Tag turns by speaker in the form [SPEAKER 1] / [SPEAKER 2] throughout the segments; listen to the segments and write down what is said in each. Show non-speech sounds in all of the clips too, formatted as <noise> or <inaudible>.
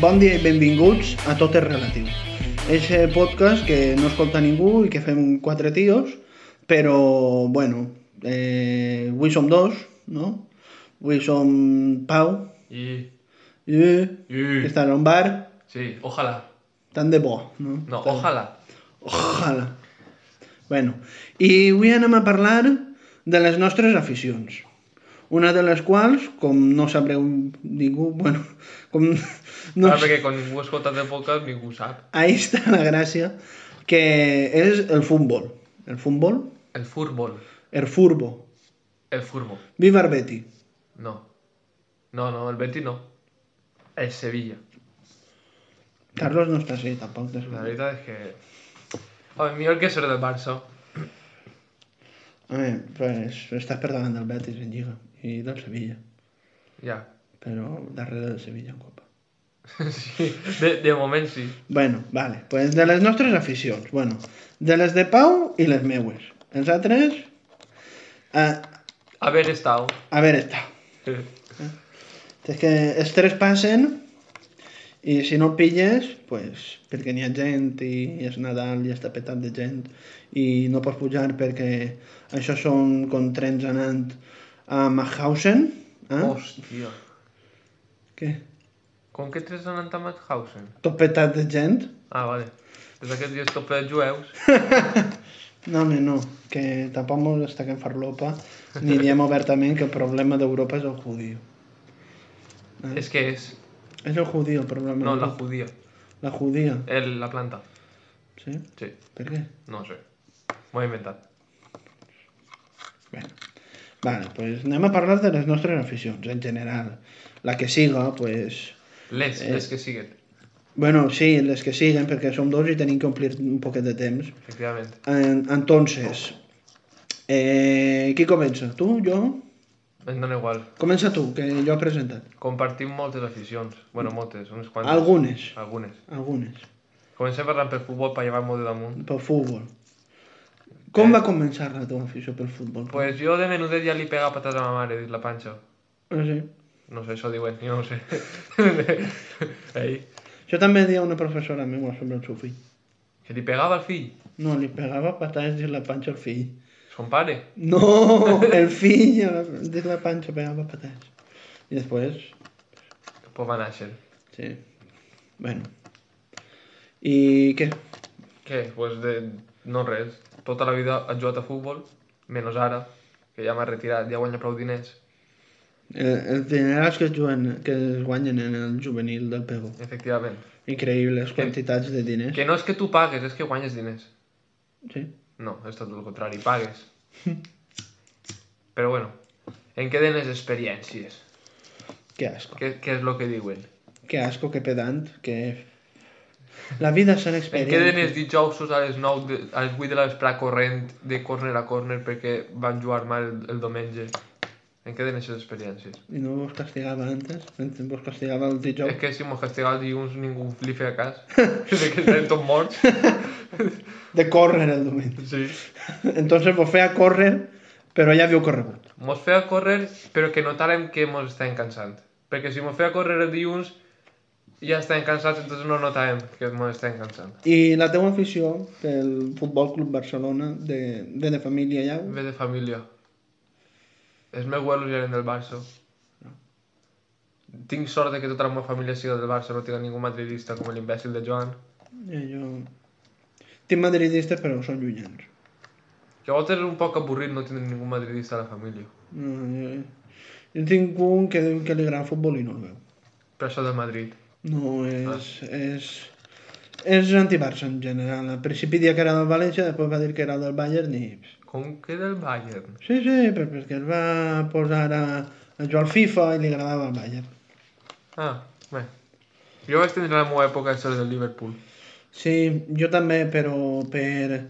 [SPEAKER 1] Bon dia i benvinguts a Tot és relatiu. És eh, podcast que no escolta ningú i que fem quatre tios, però, bueno, eh, avui som dos, no? Avui som Pau,
[SPEAKER 2] Y,
[SPEAKER 1] i, que
[SPEAKER 2] y,
[SPEAKER 1] està en un bar,
[SPEAKER 2] sí, ojalá.
[SPEAKER 1] tant de bo, no?
[SPEAKER 2] No, ojalá.
[SPEAKER 1] Ojalà. Bueno, i avui anem a parlar de les nostres aficions. Una de les quals, com no sabreu ningú, <laughs> bueno, com
[SPEAKER 2] No.
[SPEAKER 1] no
[SPEAKER 2] Ara perquè quan ningú ha escoltat el podcast ningú ho sap.
[SPEAKER 1] Ahí está la gracia, que es el fútbol. El fútbol,
[SPEAKER 2] El fútbol.
[SPEAKER 1] el furbo.
[SPEAKER 2] El fútbol.
[SPEAKER 1] Viva el Betis.
[SPEAKER 2] No. No, no, el Betis no. El Sevilla.
[SPEAKER 1] Carlos no està així, tampoc.
[SPEAKER 2] La
[SPEAKER 1] Després.
[SPEAKER 2] veritat és que... Home, millor que ser del Barça.
[SPEAKER 1] A veure, pues, estàs per davant del Betis en Lliga i del Sevilla,
[SPEAKER 2] Ja.
[SPEAKER 1] però darrere del Sevilla en Copa.
[SPEAKER 2] <laughs> Sí. De, de moment sí.
[SPEAKER 1] Bueno, vale, pues de les nostres aficions, bueno, de les de Pau i les meues. Els altres, a,
[SPEAKER 2] Haver estat.
[SPEAKER 1] a veure, està. És que els tres passen i si no el pilles, pues, perquè n'hi ha gent i és Nadal i està petat de gent i no pots pujar perquè això són com trens anant a Mauthausen. Eh? Oh.
[SPEAKER 2] Hòstia.
[SPEAKER 1] Què?
[SPEAKER 2] Com que tres han anat a Mauthausen?
[SPEAKER 1] Tot petat de gent?
[SPEAKER 2] Ah, vale. Des d'aquests dies tot ple de jueus.
[SPEAKER 1] No, home, no, que tampoc mos destaquem farlopa
[SPEAKER 2] <laughs>
[SPEAKER 1] ni diem obertament que el problema d'Europa és el judío.
[SPEAKER 2] És que és...
[SPEAKER 1] És el judío el problema.
[SPEAKER 2] No, la
[SPEAKER 1] d'Europa.
[SPEAKER 2] judía.
[SPEAKER 1] la judia,
[SPEAKER 2] El, la planta.
[SPEAKER 1] sí?
[SPEAKER 2] Sí.
[SPEAKER 1] Per què?
[SPEAKER 2] No sé. M'ho he inventat.
[SPEAKER 1] Bueno. Vale, pues anem a parlar de les nostres aficions en general. La que siga, pues...
[SPEAKER 2] Les,
[SPEAKER 1] Eh.
[SPEAKER 2] les que siguen,
[SPEAKER 1] Bueno, sí, les que siguen, perquè som dos i tenim que omplir un poquet de temps.
[SPEAKER 2] efectivament.
[SPEAKER 1] En, entonces, eh, qui comença? Tu? Jo?
[SPEAKER 2] Em dona igual.
[SPEAKER 1] Comença tu, que jo he presentat.
[SPEAKER 2] Compartim moltes aficions. Bueno, moltes, unes quantes.
[SPEAKER 1] Algunes,
[SPEAKER 2] Algunes.
[SPEAKER 1] algunes,
[SPEAKER 2] Comencem parlant per futbol per llevar molt de damunt.
[SPEAKER 1] pel futbol. Com va començar la teva afició pel futbol?
[SPEAKER 2] Eh. Pues jo de menudet ja li pega patat a ma mare, dit la panxa.
[SPEAKER 1] No sé.
[SPEAKER 2] No sé, això diuen, <laughs> jo no ho sé. Ei,
[SPEAKER 1] Jo també deia una professora meva sobre el seu fill.
[SPEAKER 2] que li pegava al fill,
[SPEAKER 1] No, li pegava patades dins la panxa al fill.
[SPEAKER 2] son pare.
[SPEAKER 1] No, el fill a la- dins la panxa pegava patats. I després,
[SPEAKER 2] Pues va néixer.
[SPEAKER 1] sí. Bueno. I què?
[SPEAKER 2] Què? Pues de... no res. Tota la vida ha jugat a futbol, menys ara, que ja m'ha retirat, ja guanya prou diners.
[SPEAKER 1] Eh, Els dinerals que es, juguen, que es guanyen en el juvenil del Pego.
[SPEAKER 2] Efectivament.
[SPEAKER 1] Increïbles quantitats de diners.
[SPEAKER 2] Que no és que tu pagues, és que guanyes diners.
[SPEAKER 1] Sí.
[SPEAKER 2] No, és tot el contrari, pagues. Però bueno, en queden les experiències.
[SPEAKER 1] Que asco.
[SPEAKER 2] Què, què és el que diuen?
[SPEAKER 1] Que asco, que pedant, que... La vida són
[SPEAKER 2] En queden
[SPEAKER 1] experiències.
[SPEAKER 2] els dijous a les 9 de, a les 8 de la vesprà corrent de córner a córner perquè van jugar mal el, el diumenge. En queden aquestes experiències.
[SPEAKER 1] I no vos castigava antes? Antes Vos castigava el dijous?
[SPEAKER 2] És que si mos castigava els dilluns ningú li feia cas. <laughs> de que estem tots morts.
[SPEAKER 1] De córrer el diumenge.
[SPEAKER 2] <laughs> Sí.
[SPEAKER 1] Entonces vos feia córrer, però ja havíeu corregut.
[SPEAKER 2] Mos feia córrer però que notàrem que mos estàvem cansant. Perquè si mos feia córrer el dilluns ja estàvem cansats, entonces no notàvem que mos estàvem cansant.
[SPEAKER 1] I la teva afició pel Futbol Club Barcelona, de, de, de família ja?
[SPEAKER 2] Ve de família. Els meus abuelos ja eren del Barça. Tinc sort de que tota la meva família siga del Barça, no tinc ningú madridista com l'imbècil de Joan.
[SPEAKER 1] Eh, jo... Tinc madridistes, però són llunyans.
[SPEAKER 2] Que a vegades és un poc avorrit no tenir ningú madridista a la família.
[SPEAKER 1] No, jo, jo tinc un que diu que li agrada el futbol i no el veu.
[SPEAKER 2] Per això del Madrid.
[SPEAKER 1] No, és... és... És anti-Barça en general. Al principi dia que era del València, després va dir que era del Bayern i...
[SPEAKER 2] Com que del Bayern?
[SPEAKER 1] Sí, sí, però perquè es va posar a, a jugar al FIFA i li agradava el Bayern.
[SPEAKER 2] Ah, bé. Jo vaig tenir la meva època de ser del Liverpool.
[SPEAKER 1] Sí, jo també, però per...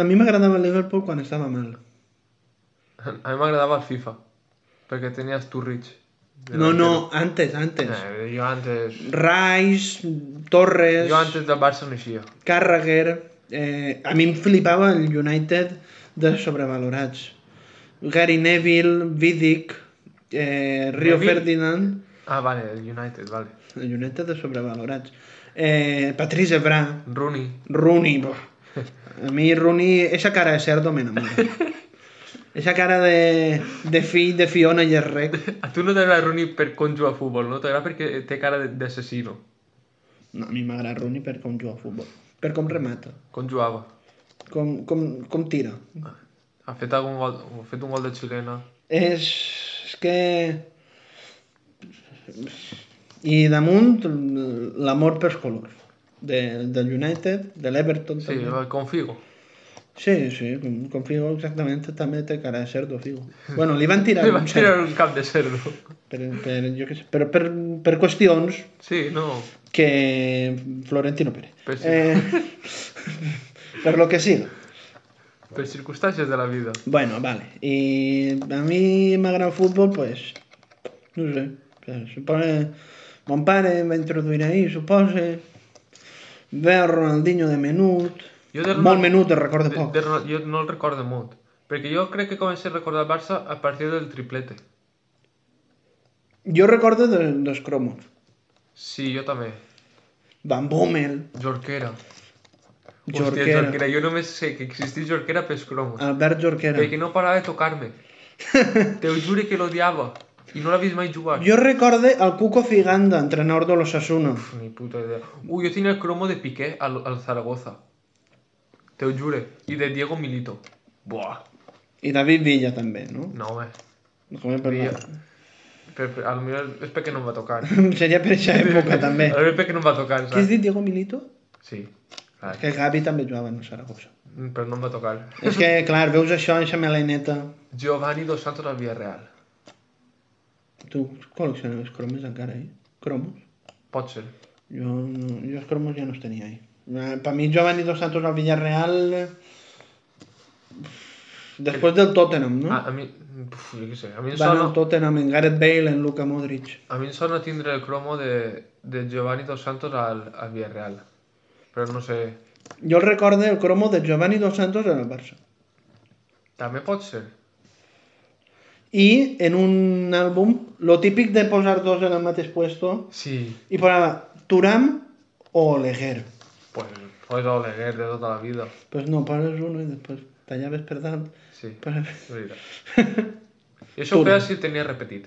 [SPEAKER 1] A mi m'agradava el Liverpool quan estava mal.
[SPEAKER 2] A mi m'agradava el FIFA, perquè tenia els Turrich.
[SPEAKER 1] No, no, antes, antes.
[SPEAKER 2] Eh, jo antes...
[SPEAKER 1] Rice, Torres,
[SPEAKER 2] Jo antes del Barça no eixia.
[SPEAKER 1] Carragher... Eh, a mi em flipava el United de sobrevalorats. Gary Neville, Vidic, eh, Rio
[SPEAKER 2] Neville?
[SPEAKER 1] Ferdinand...
[SPEAKER 2] Ah, vale, el United, vale.
[SPEAKER 1] El United és sobrevalorats. Eh, Patrice Evra,
[SPEAKER 2] Rooney.
[SPEAKER 1] Rooney. buah. A mi Rooney, esa cara de cerdo me
[SPEAKER 2] <laughs>
[SPEAKER 1] enamora. Esa cara de, de fill de Fiona i el rec.
[SPEAKER 2] A tu no t'agrada Rooney per com juga a futbol, no? T'agrada perquè té cara de- d'assassino.
[SPEAKER 1] No, a mi m'agrada Rooney per com juga a futbol. Per com remata.
[SPEAKER 2] Com jugava.
[SPEAKER 1] Com, com, com tira.
[SPEAKER 2] Ha fet, algun gol, ha fet un gol de xilena.
[SPEAKER 1] És, és que... I damunt, l'amor pels colors. De, del United, de l'Everton.
[SPEAKER 2] Sí,
[SPEAKER 1] també.
[SPEAKER 2] va, com Figo.
[SPEAKER 1] sí, sí, com, com Figo exactament també té cara de cerdo, Figo. Bueno, li van tirar
[SPEAKER 2] <laughs> Li van
[SPEAKER 1] un cerdo.
[SPEAKER 2] tirar un cap de cerdo.
[SPEAKER 1] Per, per, jo què sé, per, per, per qüestions
[SPEAKER 2] Sí, no.
[SPEAKER 1] que Florentino Pérez.
[SPEAKER 2] Per, cir
[SPEAKER 1] Eh, <laughs> per lo que siga.
[SPEAKER 2] per circumstàncies de la vida.
[SPEAKER 1] Bueno, vale. I a mi m'agrada el futbol, pues, no sé, pues, supone... Mon pare em va introduir ahí, supose. Veu Ronaldinho de menut.
[SPEAKER 2] Jo de
[SPEAKER 1] Molt
[SPEAKER 2] Ronald-
[SPEAKER 1] menut, te'n recordo
[SPEAKER 2] de,
[SPEAKER 1] poc.
[SPEAKER 2] de, Ronald- jo no el recordo molt. Perquè jo crec que començo a recordar el Barça a partir del triplete.
[SPEAKER 1] Jo recordo de, dels cromos.
[SPEAKER 2] Sí, jo també.
[SPEAKER 1] Van Bommel,
[SPEAKER 2] Jorquera. Hòstia,
[SPEAKER 1] Jorquera, Ah,
[SPEAKER 2] Jorquera. Jo només sé que existís Jorquera pels cromos.
[SPEAKER 1] Albert Jorquera.
[SPEAKER 2] Perquè no parava de
[SPEAKER 1] <laughs>
[SPEAKER 2] tocar-me. Te ho juro que l'odiava. I no l'ha vist mai jugar.
[SPEAKER 1] Jo recorde el Cuco Figanda, entrenador de l'Osasuna.
[SPEAKER 2] Pff, Ni puta idea. Ui, jo tenia el cromo de Piqué al, al Zaragoza. Te ho jure. I de Diego Milito. Buah.
[SPEAKER 1] I David Villa també, no?
[SPEAKER 2] No, home.
[SPEAKER 1] Com he parlat.
[SPEAKER 2] Per, per, a lo millor és perquè no em va tocar.
[SPEAKER 1] <laughs> Seria per
[SPEAKER 2] <laughs>
[SPEAKER 1] aquesta època també.
[SPEAKER 2] A lo millor perquè no em va tocar,
[SPEAKER 1] Què has
[SPEAKER 2] saps?
[SPEAKER 1] dit, Diego Milito?
[SPEAKER 2] Sí. Clar.
[SPEAKER 1] Que Gavi també jugava en el Saragossa.
[SPEAKER 2] Mm, Però no em va tocar.
[SPEAKER 1] És que, clar, veus això, eixa meleneta.
[SPEAKER 2] Giovanni Dos Santos al Villarreal.
[SPEAKER 1] Tu col·leccionaves cromos encara, eh? Cromos?
[SPEAKER 2] Pot ser.
[SPEAKER 1] Jo, no, jo els cromos ja no els tenia, eh? Per mi Giovanni Dos Santos al Villarreal... eh, Després del Tottenham, no?
[SPEAKER 2] A, a mi... Puf, jo què sé. Ah, A mi em
[SPEAKER 1] ¿Mm? Van al
[SPEAKER 2] sona...
[SPEAKER 1] Tottenham, en Gareth Bale, en Luka Modric.
[SPEAKER 2] A mi em sona tindre el cromo de, de Giovanni Dos Santos al, al Villarreal. Però no sé...
[SPEAKER 1] Jo el recorde el cromo de Giovanni Dos Santos en el Barça.
[SPEAKER 2] També pot ser.
[SPEAKER 1] i en un àlbum, lo típic de posar dos en el mateix puesto,
[SPEAKER 2] Sí.
[SPEAKER 1] i posava Turam o Oleguer.
[SPEAKER 2] Pues, pues Oleguer de tota la vida.
[SPEAKER 1] Pues no, poses uno i després tallaves per dalt.
[SPEAKER 2] Sí,
[SPEAKER 1] Poses...
[SPEAKER 2] és veritat. I això ho feia si tenia repetit.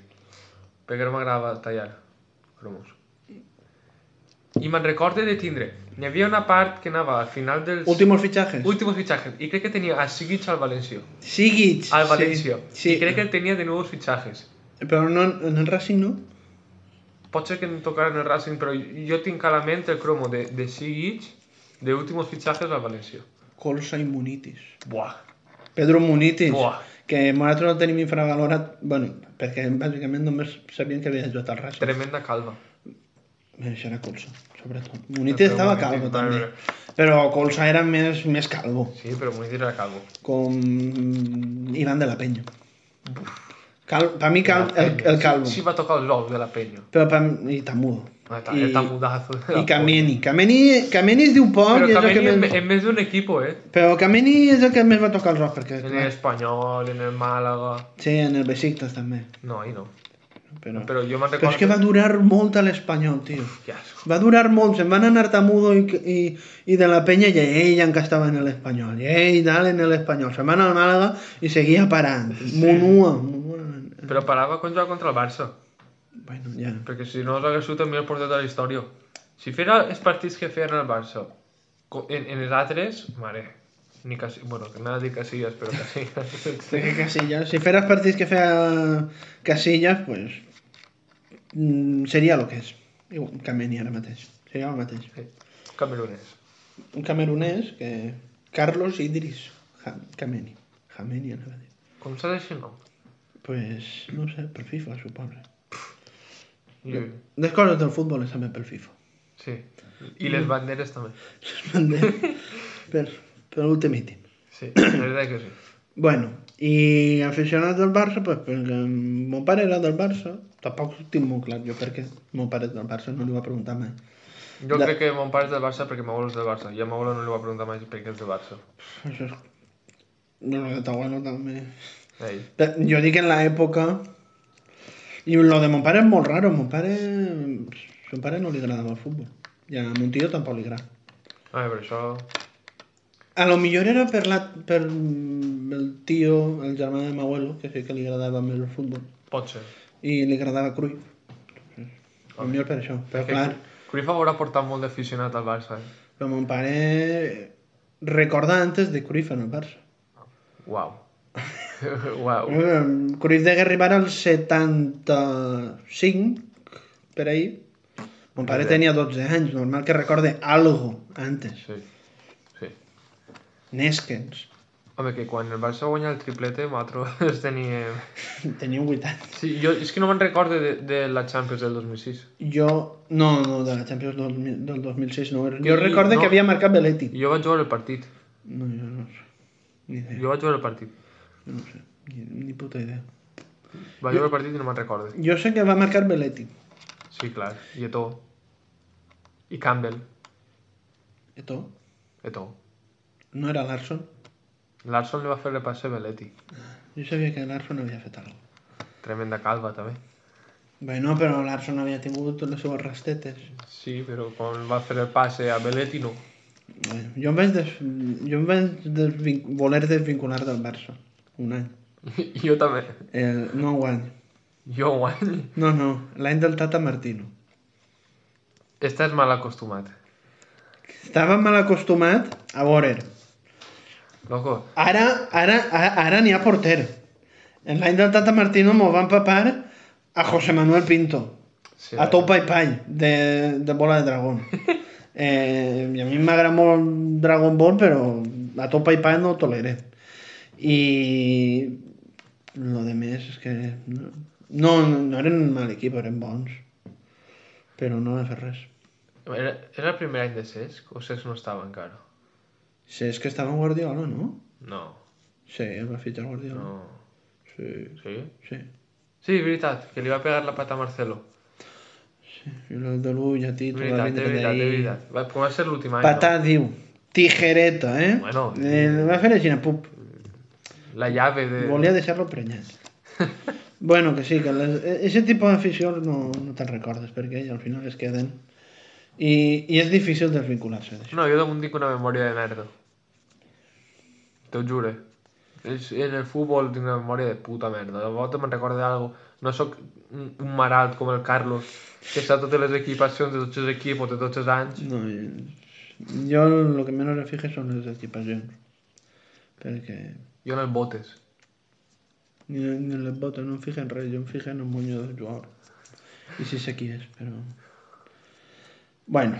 [SPEAKER 2] Perquè no m'agradava tallar cromos. I me'n recorde de tindre. N'hi havia una part que anava al final dels...
[SPEAKER 1] <laughs> Últimos fichajes. Ui...
[SPEAKER 2] Últimos fitxatges. I crec que tenia a Sigic al Valencio.
[SPEAKER 1] Sigic.
[SPEAKER 2] Al Valencio.
[SPEAKER 1] Sí,
[SPEAKER 2] I crec que tenia de nous fitxatges.
[SPEAKER 1] però no, en el Racing no.
[SPEAKER 2] Pot ser que em tocaran el Racing, però jo tinc a la ment el cromo de, de Sigic, de últimos fitxatges al Valencio.
[SPEAKER 1] Colsa i Munitis.
[SPEAKER 2] Buah.
[SPEAKER 1] Pedro Munitis.
[SPEAKER 2] Buah.
[SPEAKER 1] Que nosaltres no tenim infravalorat, bueno, perquè bàsicament només sabien que havia jugat al Racing.
[SPEAKER 2] Tremenda calva.
[SPEAKER 1] Bé, Això era Colsa, sobretot. Munitis
[SPEAKER 2] Però
[SPEAKER 1] estava
[SPEAKER 2] Munitis,
[SPEAKER 1] calvo,
[SPEAKER 2] vale,
[SPEAKER 1] també.
[SPEAKER 2] vale.
[SPEAKER 1] Però Colsa era més, més calvo.
[SPEAKER 2] Sí, però Muniz era calvo.
[SPEAKER 1] con Iván de la Peña. Cal, para mí cal, el, el calvo.
[SPEAKER 2] Sí, sí va tocar els ous de la penya.
[SPEAKER 1] Però pa mi, i Tamudo.
[SPEAKER 2] Ah, Està,
[SPEAKER 1] I-
[SPEAKER 2] està mudazo.
[SPEAKER 1] I Kameni. Kameni, Kameni es diu poc,
[SPEAKER 2] Però
[SPEAKER 1] i és el
[SPEAKER 2] Kameni
[SPEAKER 1] que
[SPEAKER 2] en,
[SPEAKER 1] més...
[SPEAKER 2] en més d'un equip, eh?
[SPEAKER 1] Però Kameni és el que més va tocar el rock, perquè...
[SPEAKER 2] En
[SPEAKER 1] clar,
[SPEAKER 2] l'Espanyol, en el Màlaga...
[SPEAKER 1] Sí, en el Besiktas també.
[SPEAKER 2] No, ahí no.
[SPEAKER 1] Però, però,
[SPEAKER 2] Però jo me'n
[SPEAKER 1] però
[SPEAKER 2] recordo...
[SPEAKER 1] és que va durar molt a l'Espanyol, tio.
[SPEAKER 2] Que asco.
[SPEAKER 1] Va durar molt, se'n van anar Tamudo i, i, i de la penya i ell encara estava en l'Espanyol, i ell dalt en l'Espanyol, se'n van al Màlaga i seguia parant. Munua, Munua.
[SPEAKER 2] Però parava quan jugava contra el Barça.
[SPEAKER 1] Bueno, ja.
[SPEAKER 2] Perquè si no, hagués sigut el millor porter de la història. Si fera els partits que feien el Barça co- en, en els altres, mare... Ni quasi... Bueno, que anava a dir Casillas, però Casillas... <laughs>
[SPEAKER 1] Sí, que Casillas. Si fueras partits que fea Casillas, pues mm, seria el que és. Igual, un Cameni ara mateix. Seria el mateix.
[SPEAKER 2] Camerunès.
[SPEAKER 1] Un camerunès que... Carlos Idris ja, Cameni. Jameni, anava a dir.
[SPEAKER 2] Com s'ha de dir el nom?
[SPEAKER 1] Pues, no sé, per FIFA, suposo.
[SPEAKER 2] I,
[SPEAKER 1] Les coses del futbol és també pel FIFA.
[SPEAKER 2] sí. I les banderes també.
[SPEAKER 1] per, per l'últim mítim.
[SPEAKER 2] Sí, la veritat que sí.
[SPEAKER 1] Bueno, i aficionat del Barça, pues, perquè mon pare era del Barça, tampoc ho tinc molt clar jo perquè mon pare és del Barça, no li va preguntar mai.
[SPEAKER 2] Jo
[SPEAKER 1] La-
[SPEAKER 2] crec que mon pare és del Barça perquè ma abuelo és del Barça. I a ma abuela no li va preguntar mai per què és del Barça.
[SPEAKER 1] Això és... No, no, de Tahuano també.
[SPEAKER 2] Ell.
[SPEAKER 1] Pe- Jo dic en l'època I lo de mon pare és molt raro. Mon pare... Mon pare no li agradava el futbol. I a mon tio tampoc li agrada.
[SPEAKER 2] Ah, però això...
[SPEAKER 1] A lo millor era per, la, per el tio, el germà de m'abuelo, que sí que li agradava més el futbol.
[SPEAKER 2] Pot ser.
[SPEAKER 1] I li agradava Cruyff. A lo millor per això. Però
[SPEAKER 2] Que
[SPEAKER 1] clar,
[SPEAKER 2] Cruyff haurà portat molt d'aficionat al Barça. Eh?
[SPEAKER 1] però mon pare recorda antes de Cruyff en el Barça.
[SPEAKER 2] Uau. <laughs> Uau.
[SPEAKER 1] Mm, Cruyff de arribar al 75, per ahí. Mon pare tenia 12 anys, normal que recorde algo antes.
[SPEAKER 2] Sí. Sí.
[SPEAKER 1] <laughs> Neskens.
[SPEAKER 2] Home, que quan el Barça guanya el triplete, <laughs> nosaltres teníem...
[SPEAKER 1] Tenia 8 anys.
[SPEAKER 2] Sí, jo és que no me'n recordo de, de la Champions del 2006.
[SPEAKER 1] Jo... No, no, de la Champions del, mil- del 2006 no. era. Jo
[SPEAKER 2] Sí,
[SPEAKER 1] recorde
[SPEAKER 2] no.
[SPEAKER 1] que havia marcat Belletti.
[SPEAKER 2] Jo vaig jugar el partit.
[SPEAKER 1] No, jo no sé. Ni idea,
[SPEAKER 2] Jo vaig jugar el partit.
[SPEAKER 1] no sé. Ni, ni puta idea.
[SPEAKER 2] Vaig jugar el partit i no me'n recordo.
[SPEAKER 1] Jo sé que va marcar Belletti.
[SPEAKER 2] Sí, clar. I Eto'o. I Campbell.
[SPEAKER 1] Eto?
[SPEAKER 2] Eto'o.
[SPEAKER 1] No era Larson?
[SPEAKER 2] Larson li va fer el repasse a Belletti.
[SPEAKER 1] Jo sabia que Larson havia fet alguna cosa.
[SPEAKER 2] Tremenda calva, també.
[SPEAKER 1] Bueno, però Larson havia tingut les seves rastetes.
[SPEAKER 2] Sí, però quan va fer el passe a Belletti, no. <laughs>
[SPEAKER 1] Bueno, jo em vaig, des... jo em vaig desvin... voler desvincular del Barça. Un any.
[SPEAKER 2] I jo també.
[SPEAKER 1] El... No guany.
[SPEAKER 2] Jo guany.
[SPEAKER 1] No, no. L'any del Tata Martino.
[SPEAKER 2] Estàs mal acostumat.
[SPEAKER 1] Estava mal acostumat a veure.
[SPEAKER 2] Loco,
[SPEAKER 1] Ara, ara, a- ara n'hi ha porter. En l'any del Tata Martino m'ho van papar a José Manuel Pinto.
[SPEAKER 2] sí,
[SPEAKER 1] A Tou Pai Pai, de, de Bola de Dragón.
[SPEAKER 2] <laughs>
[SPEAKER 1] Eh, I a mi m'agrada molt Dragon Ball, però a Tou Pai Pai no ho toleré. I... Lo de més és que... No, no, no eren un mal equip, eren bons. Però no va fer res.
[SPEAKER 2] era, era el primer any de Cesc o Cesc no estava encara?
[SPEAKER 1] Sí, és que estava en Guardiola, no?
[SPEAKER 2] No,
[SPEAKER 1] Sí, el va fitxar Guardiola.
[SPEAKER 2] no.
[SPEAKER 1] Sí,
[SPEAKER 2] Sí?
[SPEAKER 1] sí.
[SPEAKER 2] Sí, veritat, que li va pegar la pata a Marcelo.
[SPEAKER 1] I el de l'ull a ti, tu va
[SPEAKER 2] Veritat, de
[SPEAKER 1] vindre
[SPEAKER 2] veritat, de
[SPEAKER 1] d'ahir.
[SPEAKER 2] veritat. Va, com va ser l'últim any,
[SPEAKER 1] Patà diu, tijereta, eh?
[SPEAKER 2] Bueno.
[SPEAKER 1] eh va fer així, pup.
[SPEAKER 2] no? La llave de...
[SPEAKER 1] Volia deixar-lo prenyat. bueno, que sí, que les, e- ese tipus d'aficions no, no te'n recordes, perquè al final es queden. I, i és difícil desvincular-se d'això.
[SPEAKER 2] No, jo damunt tinc una memòria de merda. T'ho jure. És, en el futbol tinc una memòria de puta merda. De volta me'n recordo d'algo. No sóc un un malalt com el Carlos, que sap totes les equipacions de tots els equips de tots els anys.
[SPEAKER 1] No, jo- jo el que menys em fijo són les equipacions. Perquè
[SPEAKER 2] Jo en el botes.
[SPEAKER 1] ni, ni en les botes no em fijo en res, jo em fijo en el monyo del jugador. I sí sé qui és, però... Bueno,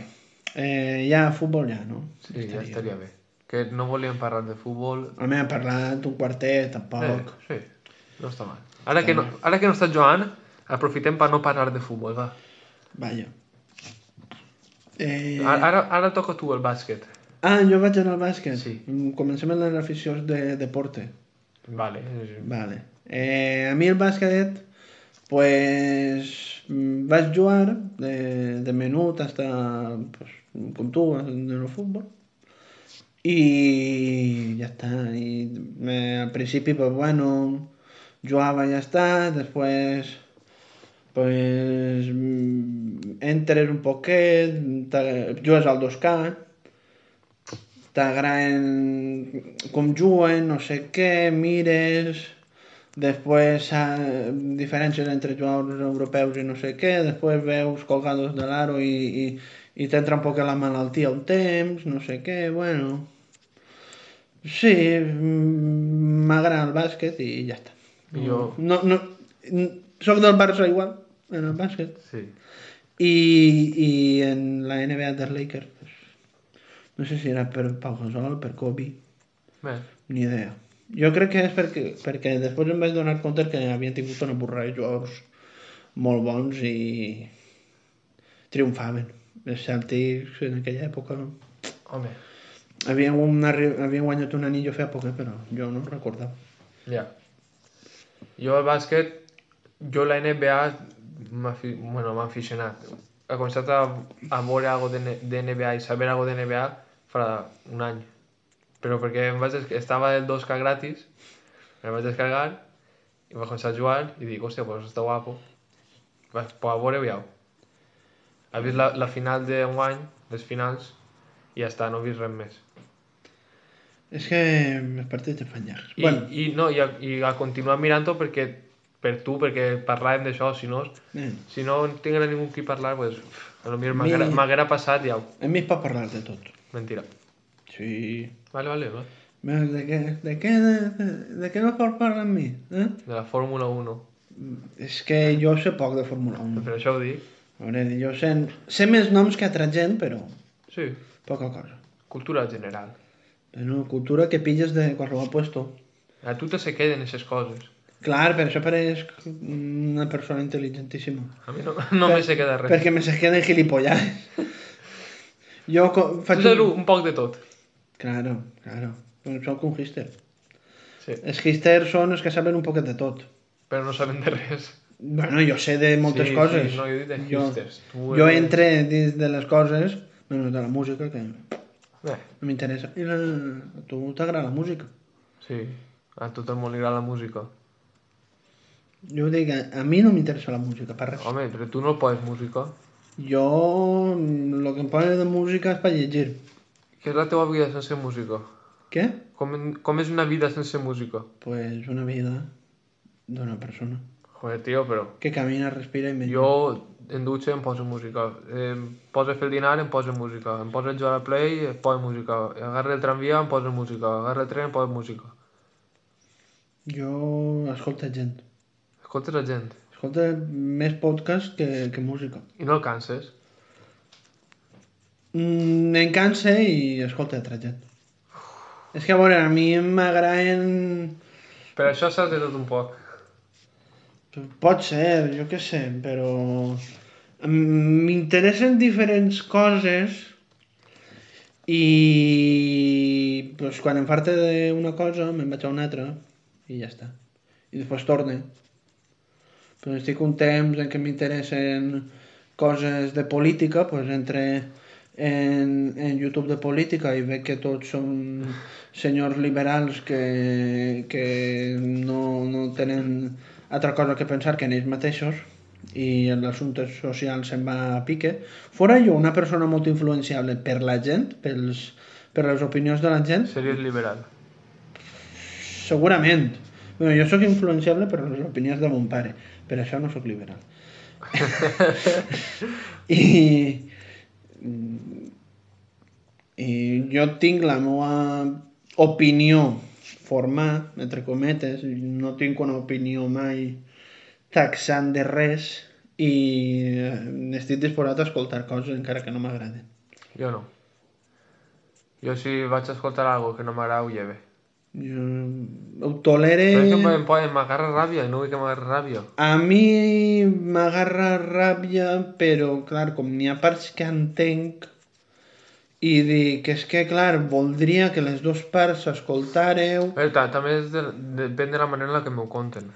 [SPEAKER 1] eh, ja futbol ja, no?
[SPEAKER 2] Sí, ja estaria bé. Que no volíem parlar de futbol.
[SPEAKER 1] Home, ha parlat un quartet, tampoc.
[SPEAKER 2] Eh, sí, no està mal. Ara que no, ara que no està Joan, aprofitem per no parlar de futbol, va.
[SPEAKER 1] Vaja. Eh,
[SPEAKER 2] Ara, ara, ara toca tu el bàsquet.
[SPEAKER 1] ah, jo vaig anar al bàsquet.
[SPEAKER 2] Sí.
[SPEAKER 1] Mm, Comencem amb les aficions de deporte.
[SPEAKER 2] Vale.
[SPEAKER 1] Vale. Eh, a mi el bàsquet, pues, mm, vaig jugar de, de menut hasta, pues, com tu, en el futbol. I ja està. I, eh, al principi, pues, bueno, jugava i ja està. Després, pues, mm, entres un poquet, t'ag- jugues al 2K, t'agraden com juguen, no sé què, mires, després eh, diferències entre jugadors europeus i no sé què, després veus colgados de l'aro i, i, i t'entra un poc la malaltia un temps, no sé què, bueno... Sí, mm, m'agrada el bàsquet i ja està.
[SPEAKER 2] I jo-
[SPEAKER 1] No, no, soc del Barça igual, en el bàsquet.
[SPEAKER 2] Sí.
[SPEAKER 1] I, i en la NBA dels Lakers, pues, no sé si era per Pau Gasol, per Kobe,
[SPEAKER 2] Bé,
[SPEAKER 1] ni idea. Jo crec que és perquè, perquè després em vaig donar compte que havien tingut una borrada de jugadors molt bons i triomfaven. Els Celtics en aquella època
[SPEAKER 2] home,
[SPEAKER 1] havien, una, havien guanyat un anillo fa poc, eh, però jo no ho recordava.
[SPEAKER 2] ja. Jo el bàsquet, jo la NBA m'ha afi- bueno, m'ha aficionat. He començat a, a veure algo de, N- de NBA i saber algo de NBA fa un any. Però perquè em vaig des- estava el 2K gratis, me'l vaig descargar i vaig començar a jugar i dic, hòstia, pues està guapo. Vas, pues a veure, veieu. He vist la, la final d'enguany, les finals, i ja està, no he vist res més.
[SPEAKER 1] És que els partits de fanyar.
[SPEAKER 2] I,
[SPEAKER 1] bueno,
[SPEAKER 2] i, no, i, a, i a continuar mirant-ho perquè per tu, perquè parlàvem d'això, si no,
[SPEAKER 1] eh,
[SPEAKER 2] si no tinc ningú qui parlar, pues, a lo millor
[SPEAKER 1] Mi-
[SPEAKER 2] m'haguera- m'haguera passat ja.
[SPEAKER 1] en mi es pot parlar de tot.
[SPEAKER 2] Mentira.
[SPEAKER 1] Sí.
[SPEAKER 2] Vale, vale, va.
[SPEAKER 1] Més De què, de què, de, de, de què no pot parlar amb mi? Eh?
[SPEAKER 2] De la Fórmula 1.
[SPEAKER 1] És que jo sé poc de Fórmula 1.
[SPEAKER 2] Per això ho dic.
[SPEAKER 1] A veure, jo sé, sé més noms que altra gent, però
[SPEAKER 2] Sí,
[SPEAKER 1] poca cosa.
[SPEAKER 2] cultura general.
[SPEAKER 1] Però cultura que pilles de qualsevol puesto.
[SPEAKER 2] A tu te se queden aquestes coses.
[SPEAKER 1] Clar, per això pareix una persona intel·ligentíssima.
[SPEAKER 2] A mi no, <laughs> no me se queda res.
[SPEAKER 1] Perquè me se queden gilipollades. Jo co-
[SPEAKER 2] Tu
[SPEAKER 1] faig...
[SPEAKER 2] saps un poc de tot.
[SPEAKER 1] Claro, claro. Però Soc un hister.
[SPEAKER 2] Sí,
[SPEAKER 1] Els histers són els que saben un poquet de tot.
[SPEAKER 2] però no saben de res.
[SPEAKER 1] Bueno, jo sé de moltes
[SPEAKER 2] sí,
[SPEAKER 1] coses.
[SPEAKER 2] Sí, no, jo dic de
[SPEAKER 1] jo,
[SPEAKER 2] hipsters. Tu
[SPEAKER 1] jo
[SPEAKER 2] eres-
[SPEAKER 1] entre dins de les coses, menys de la música, que no
[SPEAKER 2] Eh,
[SPEAKER 1] m'interessa. I la... a tu t'agrada la música.
[SPEAKER 2] sí, a tot el món li agrada la música.
[SPEAKER 1] Jo dic, a, a mi no m'interessa la música, per res.
[SPEAKER 2] Home, però tu no poses música.
[SPEAKER 1] Jo, mm, lo que em posa de música és per llegir.
[SPEAKER 2] Què és la teva vida sense música?
[SPEAKER 1] Què?
[SPEAKER 2] Com, com és una vida sense música?
[SPEAKER 1] Pues una vida d'una persona
[SPEAKER 2] Joder, tio, però...
[SPEAKER 1] que camina, respira i menja.
[SPEAKER 2] Jo en dutxa em poso música, eh, em poso a fer el dinar em poso música, em poso a jugar a play em poso música, agarro el tramvia em poso música, agarro el tren em poso música.
[SPEAKER 1] Jo escolto gent.
[SPEAKER 2] Escoltes la gent
[SPEAKER 1] Escolto més podcast que, que música.
[SPEAKER 2] i no el canses.
[SPEAKER 1] Mm, em cansa i escolto altra gent. És que, a veure, a mi m'agraden...
[SPEAKER 2] Per això saps de tot un poc.
[SPEAKER 1] Pot ser, jo què sé, però... mm, M'interessen diferents coses i pues, quan em farta d'una cosa me'n vaig a una altra i ja està. I després torne. Però estic un temps en què m'interessen coses de política, pues, entre en, en YouTube de política i veig que tots són senyors liberals que, que no, no tenen altra cosa que pensar que en ells mateixos i l'assumpte social se'n va a pique. Fora jo una persona molt influenciable per la gent, pels, per les opinions de la gent,
[SPEAKER 2] Series liberal.
[SPEAKER 1] Segurament. Bueno, jo sóc influenciable per les opinions de mon pare, per això no sóc liberal.
[SPEAKER 2] <laughs>
[SPEAKER 1] I, I jo tinc la meva opinió formada, entre cometes, no tinc una opinió mai taxant de res i eh, estic disposat a escoltar coses encara que no m'agraden.
[SPEAKER 2] Jo no. Jo si vaig a escoltar algo que no m'agrada ho lleve.
[SPEAKER 1] Jo ho
[SPEAKER 2] Però és que
[SPEAKER 1] tolere...
[SPEAKER 2] em poden m'agarra ràbia i no vull que m'agarra ràbia.
[SPEAKER 1] A mi m'agarra ràbia, però clar, com n'hi ha parts que entenc i dic, és que clar, voldria que les dues parts s'escoltàreu.
[SPEAKER 2] Però Eh, ta- també és de, depèn de la manera en la que m'ho conten.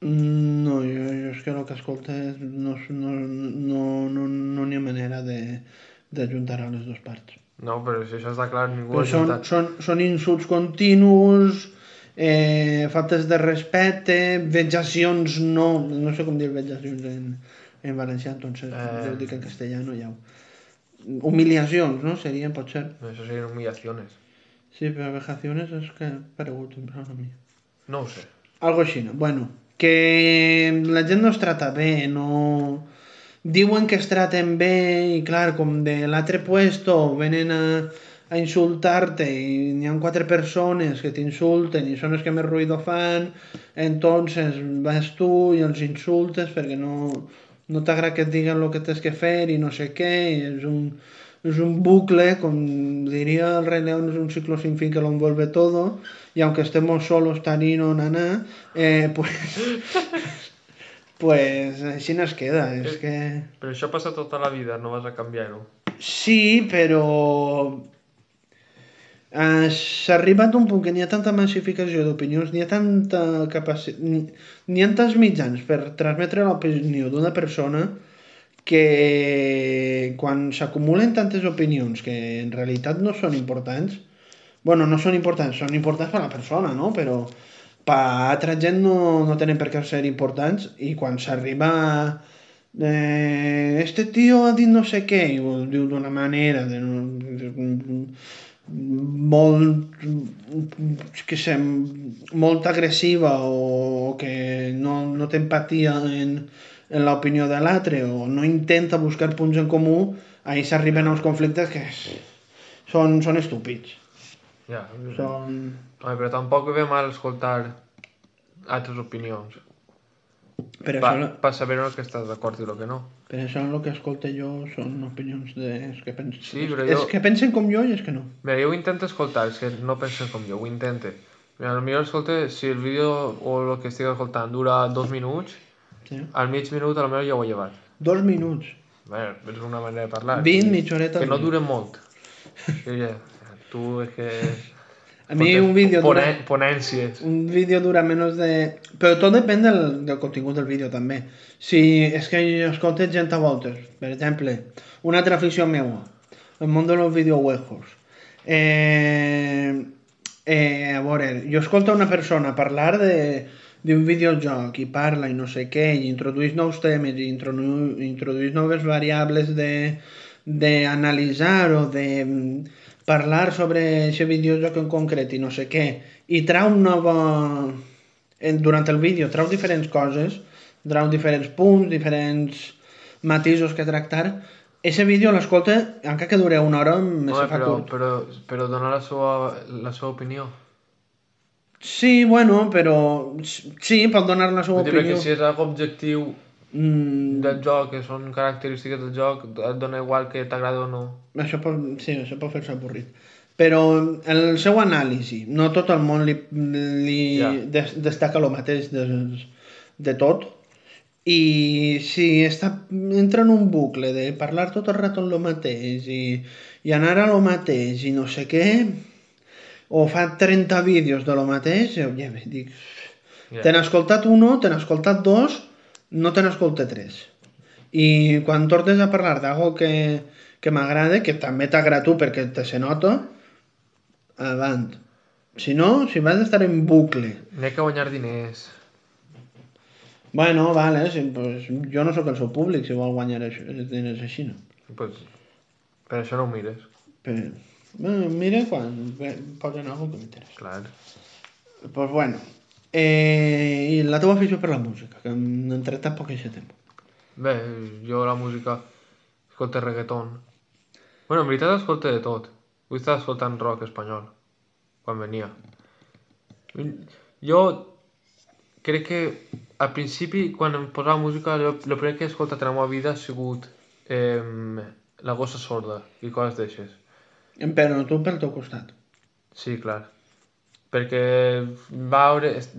[SPEAKER 1] Mm, No, jo, jo és que el que escoltes no n'hi no, no, no, no n'hi ha manera de d'ajuntar a les dues parts.
[SPEAKER 2] No, però si això està clar, ningú
[SPEAKER 1] Però
[SPEAKER 2] ha
[SPEAKER 1] són,
[SPEAKER 2] juntat.
[SPEAKER 1] són, són insults continus, eh, faltes de respecte, vexacions no, no sé com dir vexacions en, en valencià, entonces
[SPEAKER 2] Eh.
[SPEAKER 1] eh... jo ho dic en castellano ja. ho- Humiliacions, no? Serien, pot ser.
[SPEAKER 2] Això serien humillaciones.
[SPEAKER 1] Sí, però vejaciones és que ha paregut un a mi.
[SPEAKER 2] No ho sé.
[SPEAKER 1] Algo així, no? Bueno, que la gent no es trata bé, no... Diuen que es traten bé i, clar, com de l'altre puesto venen a, a insultar-te i n'hi ha quatre persones que t'insulten i són els que més ruïdo fan, entonces vas tu i els insultes perquè no, no t'agrada que et diguen el que tens que fer i no sé què, i és un, és un bucle, com diria el Rei León, és un ciclo sin fin que lo envuelve todo, y aunque estemos solos, Tarino, Naná, eh, pues... <laughs> pues així no es queda, és que...
[SPEAKER 2] Però això passa tota la vida, no vas a canviar-ho.
[SPEAKER 1] Sí, però... eh, S'ha arribat a un punt que n'hi ha tanta massificació d'opinions, n'hi ha tanta capacitat... N'hi ha tants mitjans per transmetre l'opinió d'una persona que quan s'acumulen tantes opinions que en realitat no són importants, bueno, no són importants, són importants per a la persona, no? Però per a altra gent no, no tenen per què ser importants i quan s'arriba a eh, este tio ha dit no sé què, i ho diu d'una manera, de, molt, que sé, molt agressiva o que no, no té empatia en, en l'opinió de l'altre o no intenta buscar punts en comú, ahí s'arriben a uns conflictes que són, són estúpids.
[SPEAKER 2] Ja.
[SPEAKER 1] Són...
[SPEAKER 2] Home, però tampoc ve mal escoltar altres opinions.
[SPEAKER 1] Però
[SPEAKER 2] Per,
[SPEAKER 1] això,
[SPEAKER 2] per saber en el que estàs d'acord i el que no.
[SPEAKER 1] Per això el que escolta jo són opinions dels que, pens...
[SPEAKER 2] Sí, però
[SPEAKER 1] els
[SPEAKER 2] jo-
[SPEAKER 1] que pensen com jo i els que no.
[SPEAKER 2] Mira, jo ho intento escoltar, és que no penses com jo, ho intente. Mira, potser escolta, si el vídeo o el que estic escoltant dura dos minuts,
[SPEAKER 1] Sí.
[SPEAKER 2] al mig minut potser ja ho he llevat.
[SPEAKER 1] Dos minuts,
[SPEAKER 2] Bé, és una manera de parlar.
[SPEAKER 1] 20, mitja horeta.
[SPEAKER 2] Que no dure molt. Sí, ja. Tu és que...
[SPEAKER 1] A mi un vídeo
[SPEAKER 2] Pone,
[SPEAKER 1] dura,
[SPEAKER 2] Ponències.
[SPEAKER 1] un vídeo dura menys de... Però tot depèn del, del contingut del vídeo també. Si és que jo escolto gent a voltes, per exemple, una altra afició meua, el món dels videojuegos. Eh, eh, a veure, jo escolto una persona parlar de d'un videojoc i parla i no sé què i introdueix nous temes i introdu introdueix noves variables de d'analitzar o de mm, parlar sobre aquest videojoc en concret i no sé què i trau nova en, durant el vídeo trau diferents coses trau diferents punts diferents matisos que tractar Ese vídeo l'escolta, encara que dure una hora, me
[SPEAKER 2] Home,
[SPEAKER 1] se fa
[SPEAKER 2] però,
[SPEAKER 1] curt.
[SPEAKER 2] però, però donar la seva, la seva opinió.
[SPEAKER 1] Sí, bueno, però s- sí, pot donar la seva
[SPEAKER 2] Vull dir, perquè
[SPEAKER 1] opinió.
[SPEAKER 2] si és algo objectiu
[SPEAKER 1] Mm,
[SPEAKER 2] del joc, que són característiques del joc, et dona igual que t'agrada o no.
[SPEAKER 1] això pot, sí, això pot fer-se avorrit. Però el seu anàlisi, no tot el món li, li
[SPEAKER 2] Ja.
[SPEAKER 1] des, destaca el mateix de, de tot. I si està, entra en un bucle de parlar tot el rato el mateix i, i anar a lo mateix i no sé què, o fa 30 vídeos de lo mateix, jo ja bé, dic,
[SPEAKER 2] Ja.
[SPEAKER 1] Te n'ha escoltat uno, te n'ha escoltat dos, no te n'ha escoltat tres. I quan tornes a parlar d'algo que, que m'agrada, que també t'agrada a tu perquè te se nota, avant. Si no, si vas estar en bucle.
[SPEAKER 2] N'hi ha que guanyar diners.
[SPEAKER 1] Bueno, vale, si, pues, jo no sóc el seu públic si vol guanyar això, els diners així, no.
[SPEAKER 2] Pues, per això no ho mires,
[SPEAKER 1] Però, bueno, mira quan ve- posen alguna cosa que m'interessa.
[SPEAKER 2] clar.
[SPEAKER 1] Pues bueno, eh, i la teva afició per la música, que hem entrat tampoc aquest temps.
[SPEAKER 2] Bé, jo la música... Escolta reggaeton. Bueno, en veritat escolta de tot. Vull estar escoltant rock espanyol. Quan venia. Jo crec que al principi, quan em posava música, jo- el primer que he escoltat en la meva vida ha sigut eh, La gossa sorda i coses d'aixes.
[SPEAKER 1] Però tu pel teu costat.
[SPEAKER 2] Sí, clar. Perquè veure, est-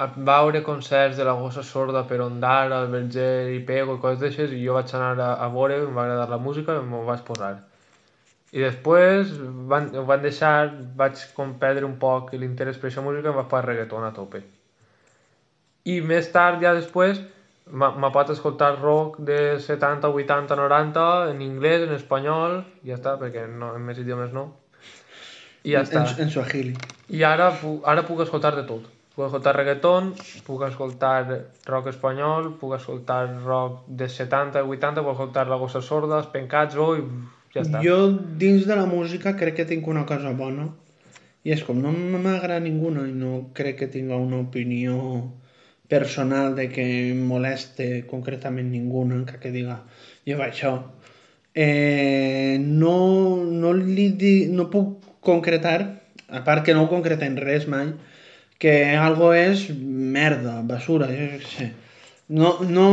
[SPEAKER 2] a- veure concerts de la gossa sorda per Ondar, al Verger i Pego i coses d'aixes, i jo vaig anar a, a veure, em va agradar la música i m'ho vaig posar. I després van, ho van deixar, vaig com perdre un poc l'interès per aquesta música i em vaig posar reggaeton a tope. I més tard, ja després, m'ha m'ha pot escoltar rock de 70, 80, 90, en anglès, en espanyol, i ja està, perquè no, en més idiomes no. I ja està.
[SPEAKER 1] En, en Swahili.
[SPEAKER 2] I ara, pu- ara puc escoltar de tot. Puc escoltar reggaeton, puc escoltar rock espanyol, puc escoltar rock de 70, 80, puc escoltar La Gossa Sorda, Els Pencats, oh, i ja està. Jo...
[SPEAKER 1] Jo, dins de la música, crec que tinc una cosa bona. I és com, no m'agrada ninguna i no crec que tinga una opinió personal de que em moleste concretament ninguna, encara que diga, lleva això. Eh, no, no, li di, no puc concretar, a part que no ho concreten res mai, que algo és merda, basura, jo què sé. No, no...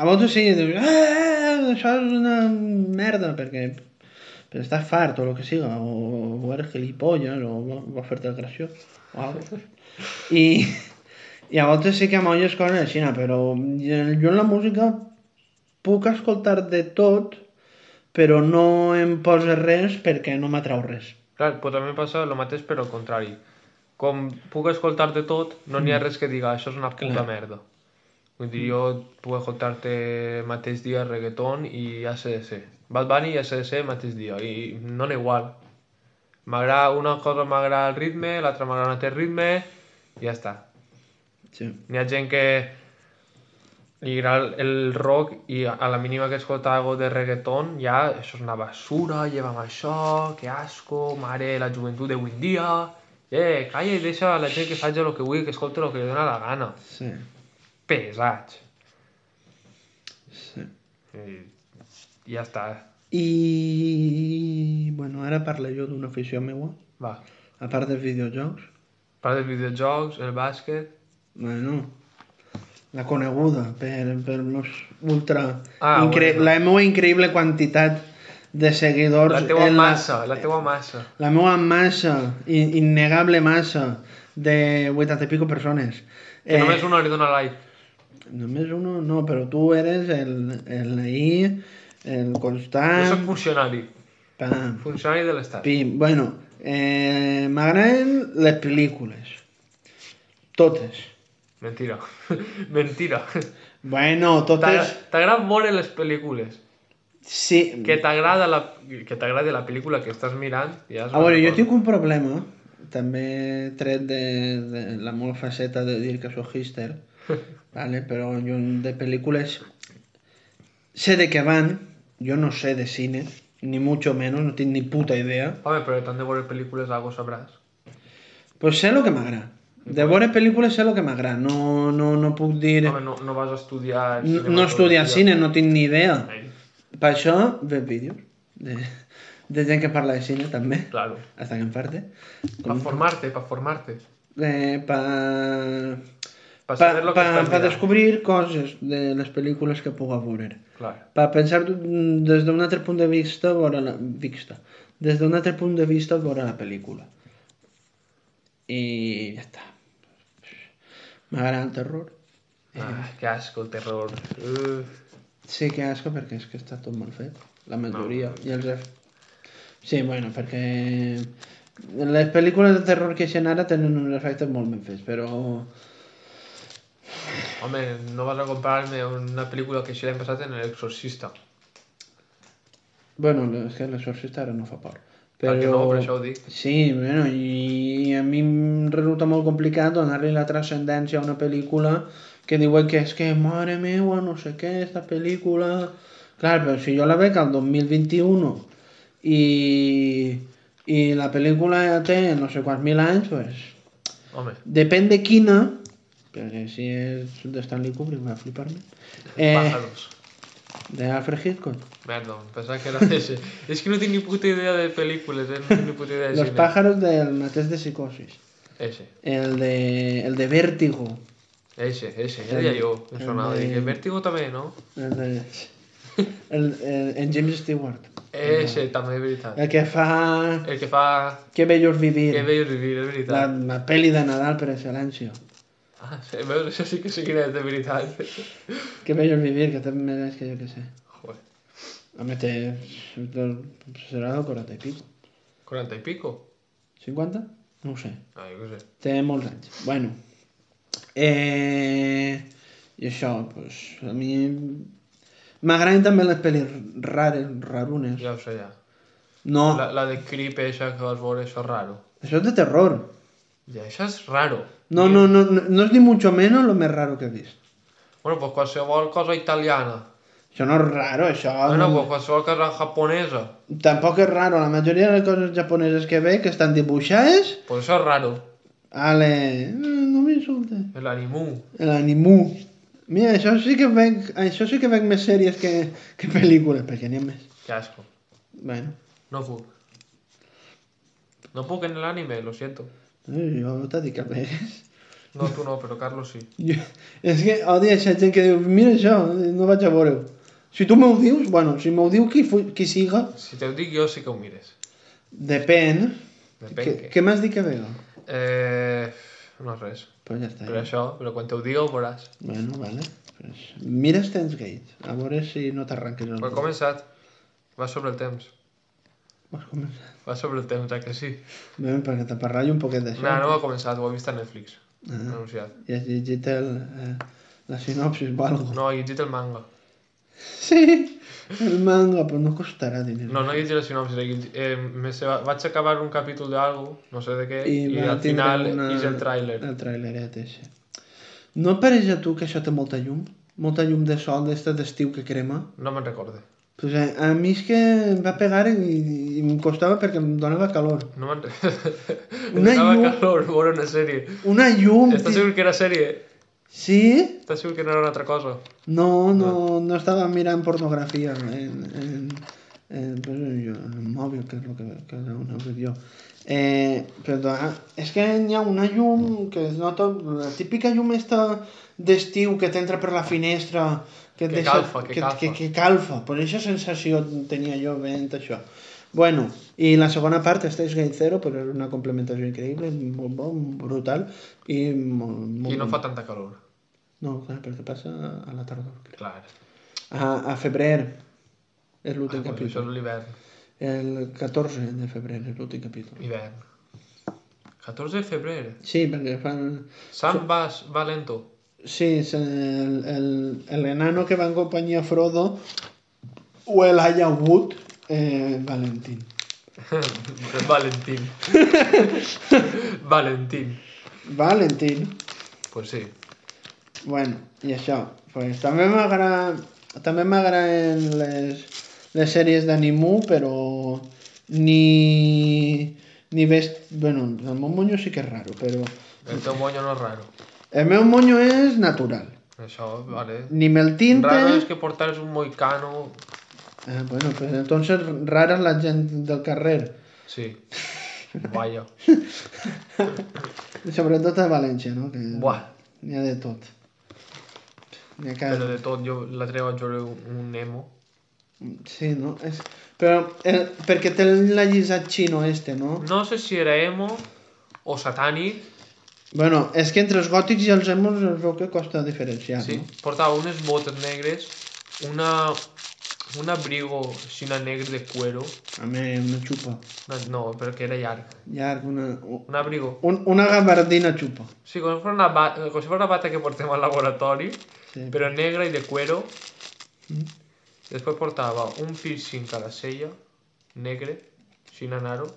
[SPEAKER 1] A vegades sí, dius, "Ah, això és una merda, perquè però estàs fart o el que siga, o, o eres gilipolles, o vo- vols fer-te el graciós, o algo. I, I a vegades sí que m'oies coses així, però jo en la música puc escoltar de tot, però no em posa res perquè no m'atrau res.
[SPEAKER 2] Clar, però també passa el mateix però al contrari. Com puc escoltar de tot, no n'hi ha res que diga això és una puta
[SPEAKER 1] Clar.
[SPEAKER 2] merda. Vull dir, jo puc escoltar-te mateix dia reggaeton i ACDC. Bad Bunny i ACDC mateix dia, i no n'hi igual. M'agrada, una cosa m'agrada el ritme, l'altra m'agrada un altre ritme, i ja està.
[SPEAKER 1] Sí.
[SPEAKER 2] N'hi ha gent que i era el, el rock i a la mínima que escolta algo de reggaeton ja això és una basura, lleva'm això, que asco, mare, la joventut d'avui en dia... Eh, calla i deixa a la gent que faci el que vull, que escolti el que li dóna la gana.
[SPEAKER 1] Sí,
[SPEAKER 2] Pesats.
[SPEAKER 1] sí.
[SPEAKER 2] I ja està.
[SPEAKER 1] I... Bueno, ara parlo jo d'una afició meua,
[SPEAKER 2] Va.
[SPEAKER 1] a part dels videojocs.
[SPEAKER 2] Part dels videojocs, el bàsquet...
[SPEAKER 1] Bueno, la coneguda per, per los ultra...
[SPEAKER 2] Ah,
[SPEAKER 1] incre...
[SPEAKER 2] bueno.
[SPEAKER 1] La meva increïble quantitat de seguidors...
[SPEAKER 2] La teua
[SPEAKER 1] en
[SPEAKER 2] massa, la teua massa.
[SPEAKER 1] La meva massa, in- innegable massa, de 80 i pico persones. Eh.
[SPEAKER 2] Que només una li dona like.
[SPEAKER 1] Només uno, no, però tu eres el, el ahí, el
[SPEAKER 2] Jo soc
[SPEAKER 1] constant...
[SPEAKER 2] funcionari.
[SPEAKER 1] Pam,
[SPEAKER 2] Funcionari de l'Estat.
[SPEAKER 1] pim. Bueno, eh, m'agraden les pel·lícules. Totes.
[SPEAKER 2] Mentira. <laughs> Mentira.
[SPEAKER 1] Bueno,
[SPEAKER 2] T'agra-
[SPEAKER 1] totes...
[SPEAKER 2] T'agraden molt les pel·lícules.
[SPEAKER 1] Sí,
[SPEAKER 2] Que t'agrada la... que t'agradi la pel·lícula que estàs mirant... Ja és
[SPEAKER 1] A veure,
[SPEAKER 2] una
[SPEAKER 1] jo
[SPEAKER 2] cosa.
[SPEAKER 1] tinc un problema, també tret de, de la meva faceta de dir que sóc hipster, vale? però jo de pel·lícules sé de què van, jo no sé de cine, ni mucho menos, no tinc ni puta idea,
[SPEAKER 2] Home, però tant de veure pel·lícules algo sabràs.
[SPEAKER 1] pues sé lo que m'agrada. De veure pel·lícules sé lo que m'agrada, no, no, no puc dir...
[SPEAKER 2] Home, no, no vas a estudiar...
[SPEAKER 1] No, no he estudiat cine, no tinc ni idea.
[SPEAKER 2] Ei,
[SPEAKER 1] Per això veig vídeos de, de gent que parla de cine també,
[SPEAKER 2] claro.
[SPEAKER 1] hasta que em parte.
[SPEAKER 2] Per formar-te, per formar-te.
[SPEAKER 1] Eh, per...
[SPEAKER 2] Per
[SPEAKER 1] per,
[SPEAKER 2] saber lo que
[SPEAKER 1] per, per
[SPEAKER 2] estàs mirant.
[SPEAKER 1] descobrir coses de les pel·lícules que puga veure.
[SPEAKER 2] Clar.
[SPEAKER 1] Per pensar d'un- des d'un altre punt de vista veure la... Vista. Des d'un altre punt de vista veure la pel·lícula. I ja està. M'agrada el terror.
[SPEAKER 2] Ah, que asco, el terror. Uh,
[SPEAKER 1] Sí que asco perquè és que està tot mal fet. La majoria. No. I els... eff- Sí, bueno, perquè... Les pel·lícules de terror que eixen ara tenen uns efectes molt ben fets, però...
[SPEAKER 2] home, no vas a comparar-me una pel·lícula que així l'hem passat en l'exorcista.
[SPEAKER 1] Bueno, és que l'exorcista ara no fa por.
[SPEAKER 2] Però... Perquè no, per això ho dic.
[SPEAKER 1] Sí, bueno, i a mi em resulta molt complicat donar-li la transcendència a una pel·lícula que diuen que és que, mare meva, no sé què, esta pel·lícula... Clar, però si jo la veig al 2021 i, i la pel·lícula ja té no sé quants mil anys, pues,
[SPEAKER 2] Home,
[SPEAKER 1] depèn de quina, perquè si és de Stanley Kubrick va flipar-me, eh,
[SPEAKER 2] pájaros.
[SPEAKER 1] de Alfred Hitchcock.
[SPEAKER 2] Merda, em pensava que era <laughs> ese. És que no tinc ni puta idea de pel·lícules, eh? No tinc ni puta idea de
[SPEAKER 1] Los
[SPEAKER 2] cine.
[SPEAKER 1] pájaros del mateix de psicosis.
[SPEAKER 2] Ese,
[SPEAKER 1] El de, el de vértigo.
[SPEAKER 2] ese, ese. Ja deia jo, em sonava. Dic, Vértigo també, no?
[SPEAKER 1] El, de, el, el, en James Stewart.
[SPEAKER 2] Ese, també és veritat.
[SPEAKER 1] El que fa...
[SPEAKER 2] El que fa...
[SPEAKER 1] Que bello és
[SPEAKER 2] Que
[SPEAKER 1] vivir.
[SPEAKER 2] veus vivir, és
[SPEAKER 1] La,
[SPEAKER 2] veritat.
[SPEAKER 1] la pel·li de Nadal per excel·lència.
[SPEAKER 2] Ah, sí, veus, això sí que sí que és de veritat.
[SPEAKER 1] Que bello és vivir, que també mereix que jo que sé.
[SPEAKER 2] Joder,
[SPEAKER 1] A més, té... Serà del 40 i pico.
[SPEAKER 2] 40 i pico?
[SPEAKER 1] 50? No ho sé.
[SPEAKER 2] Ah, jo què sé.
[SPEAKER 1] Té molts anys. Bueno. Eh... I això, doncs, a mi... M'agraden també les pel·lis rares, rarunes.
[SPEAKER 2] Ja ho sé, ja.
[SPEAKER 1] No,
[SPEAKER 2] La, la de Creep, eixa que vas veure, això és raro.
[SPEAKER 1] això és de terror.
[SPEAKER 2] Ja, això és raro.
[SPEAKER 1] No, no, no, no, no és ni mucho menos lo més raro que he vist.
[SPEAKER 2] Bueno, pues qualsevol cosa italiana.
[SPEAKER 1] Això no és raro, això...
[SPEAKER 2] Bueno, pues qualsevol cosa japonesa.
[SPEAKER 1] Tampoc és raro, la majoria de les coses japoneses que veig que estan dibuixades...
[SPEAKER 2] Pues això és raro.
[SPEAKER 1] Ale, mm, no m'insulte.
[SPEAKER 2] El animu.
[SPEAKER 1] L'animu. Mira, això sí que veig, això sí que veig més sèries que, que pel·lícules, perquè n'hi ha més.
[SPEAKER 2] Que asco.
[SPEAKER 1] Bueno,
[SPEAKER 2] No puc. No puc en el anime, lo siento.
[SPEAKER 1] eh, jo t'he dit que vegues.
[SPEAKER 2] No, tú no, pero Carlos sí.
[SPEAKER 1] Jo, és que odio aquesta gent que diu, mira això, no vaig a veure-ho. Si tu m'ho dius, bueno, si m'ho diu qui, fu- qui siga,
[SPEAKER 2] Si te ho dic jo, sí que ho mires.
[SPEAKER 1] depèn.
[SPEAKER 2] Depèn
[SPEAKER 1] Què
[SPEAKER 2] què.
[SPEAKER 1] què m'has dit que veu?
[SPEAKER 2] Eh, no res.
[SPEAKER 1] Pues ja està.
[SPEAKER 2] Però això, però quan te ho digui ho veuràs.
[SPEAKER 1] Bueno, vale. Pues mira Steins Gate, a veure si no t'arranques el
[SPEAKER 2] Però ha començat. Va sobre el temps.
[SPEAKER 1] Has començat?
[SPEAKER 2] Va sobre el temps, eh, que sí?
[SPEAKER 1] Bé, perquè te parlaré un poquet
[SPEAKER 2] No,
[SPEAKER 1] d'això.
[SPEAKER 2] no ha començat, ho he vist a Netflix.
[SPEAKER 1] Ah,
[SPEAKER 2] Anunciat.
[SPEAKER 1] I has llegit el, eh, la sinopsis o algo.
[SPEAKER 2] No, he llegit el manga.
[SPEAKER 1] Sí, el manga, però no costarà diners.
[SPEAKER 2] No, no he llegit la sinopsis. he llegit- Eh, me se va... Vaig acabar un capítol d'algo, no sé de què, i,
[SPEAKER 1] va
[SPEAKER 2] al
[SPEAKER 1] tindre
[SPEAKER 2] final una... és el tràiler.
[SPEAKER 1] El tràileret, ese. No pareix a tu que això té molta llum? molta llum de sol d'esta d'estiu que crema.
[SPEAKER 2] No me'n recorde.
[SPEAKER 1] Pues a, a mi és que em va pegar i, i em costava perquè em donava calor.
[SPEAKER 2] No
[SPEAKER 1] <laughs>
[SPEAKER 2] me'n recorde.
[SPEAKER 1] Una
[SPEAKER 2] Donava
[SPEAKER 1] llum-
[SPEAKER 2] calor veure una sèrie.
[SPEAKER 1] Una llum...
[SPEAKER 2] Estàs
[SPEAKER 1] tio.
[SPEAKER 2] segur que era sèrie?
[SPEAKER 1] Sí?
[SPEAKER 2] Estàs segur que no era una altra cosa?
[SPEAKER 1] No, no, no estava mirant pornografia en, en, en, pues, en, en mòbil, que és el que, que era una vídeo. Eh, però ah, és que hi ha una llum que es nota, la típica llum esta d'estiu que t'entra per la finestra que, et
[SPEAKER 2] Que
[SPEAKER 1] deixa,
[SPEAKER 2] calfa, que calfa.
[SPEAKER 1] Que, que calfa, per aquesta sensació tenia jo veient això. Bueno, i la segona part, Stays Gate Zero, però és una complementació increïble, molt bon, brutal, i molt... molt
[SPEAKER 2] I no
[SPEAKER 1] bona.
[SPEAKER 2] fa tanta calor.
[SPEAKER 1] No, clar, perquè passa a la tardor, crec.
[SPEAKER 2] Clar.
[SPEAKER 1] A, a febrer és
[SPEAKER 2] Ah,
[SPEAKER 1] l'últim
[SPEAKER 2] doncs això
[SPEAKER 1] capítol.
[SPEAKER 2] és l'hivern.
[SPEAKER 1] El 14 de febrer és l'últim capítol.
[SPEAKER 2] Hivern. 14 de febrer.
[SPEAKER 1] Sí, perquè fan...
[SPEAKER 2] Sam va, va lento.
[SPEAKER 1] Sí, és el, el, el enano que va en companyia a Frodo o el Aya Wood, eh, Valentín.
[SPEAKER 2] <laughs> Valentín. Valentín.
[SPEAKER 1] Valentín.
[SPEAKER 2] Pues sí.
[SPEAKER 1] Bueno, i això. Pues, també m'agrada... També m'agraden les, les sèries d'animú, però ni... Ni best... Bueno, el meu monyo sí que és raro, però...
[SPEAKER 2] El teu este moño no és raro.
[SPEAKER 1] El meu monyo és natural.
[SPEAKER 2] Això, vale.
[SPEAKER 1] Ni me'l tinte...
[SPEAKER 2] Raro és que portares un moicano...
[SPEAKER 1] Ah, bueno, pues entonces rara és la gent del
[SPEAKER 2] <laughs>
[SPEAKER 1] carrer.
[SPEAKER 2] Sí. Vaya.
[SPEAKER 1] Sobretot a València, no? Que
[SPEAKER 2] Buah.
[SPEAKER 1] N'hi ha de tot. N'hi ha cada...
[SPEAKER 2] Però de tot, jo la treva a veure un Nemo.
[SPEAKER 1] Sí, no? És... Però eh, perquè té la lliçat xino este, no?
[SPEAKER 2] No sé si era emo o satànic.
[SPEAKER 1] Bueno, és que entre els gòtics i els emos es veu que costa diferenciar,
[SPEAKER 2] Sí,
[SPEAKER 1] no?
[SPEAKER 2] portava unes botes negres, una, un abrigo així una negre de cuero.
[SPEAKER 1] A mi una xupa.
[SPEAKER 2] No, no, perquè era llarg.
[SPEAKER 1] Llarg, una... u-
[SPEAKER 2] Un abrigo.
[SPEAKER 1] Un, una gabardina xupa.
[SPEAKER 2] Sí, com si fos una, ba com si fos una bata que portem al laboratori,
[SPEAKER 1] Sí.
[SPEAKER 2] però negra i de cuero. Després portava un piercing a la cella, negre, així anaro,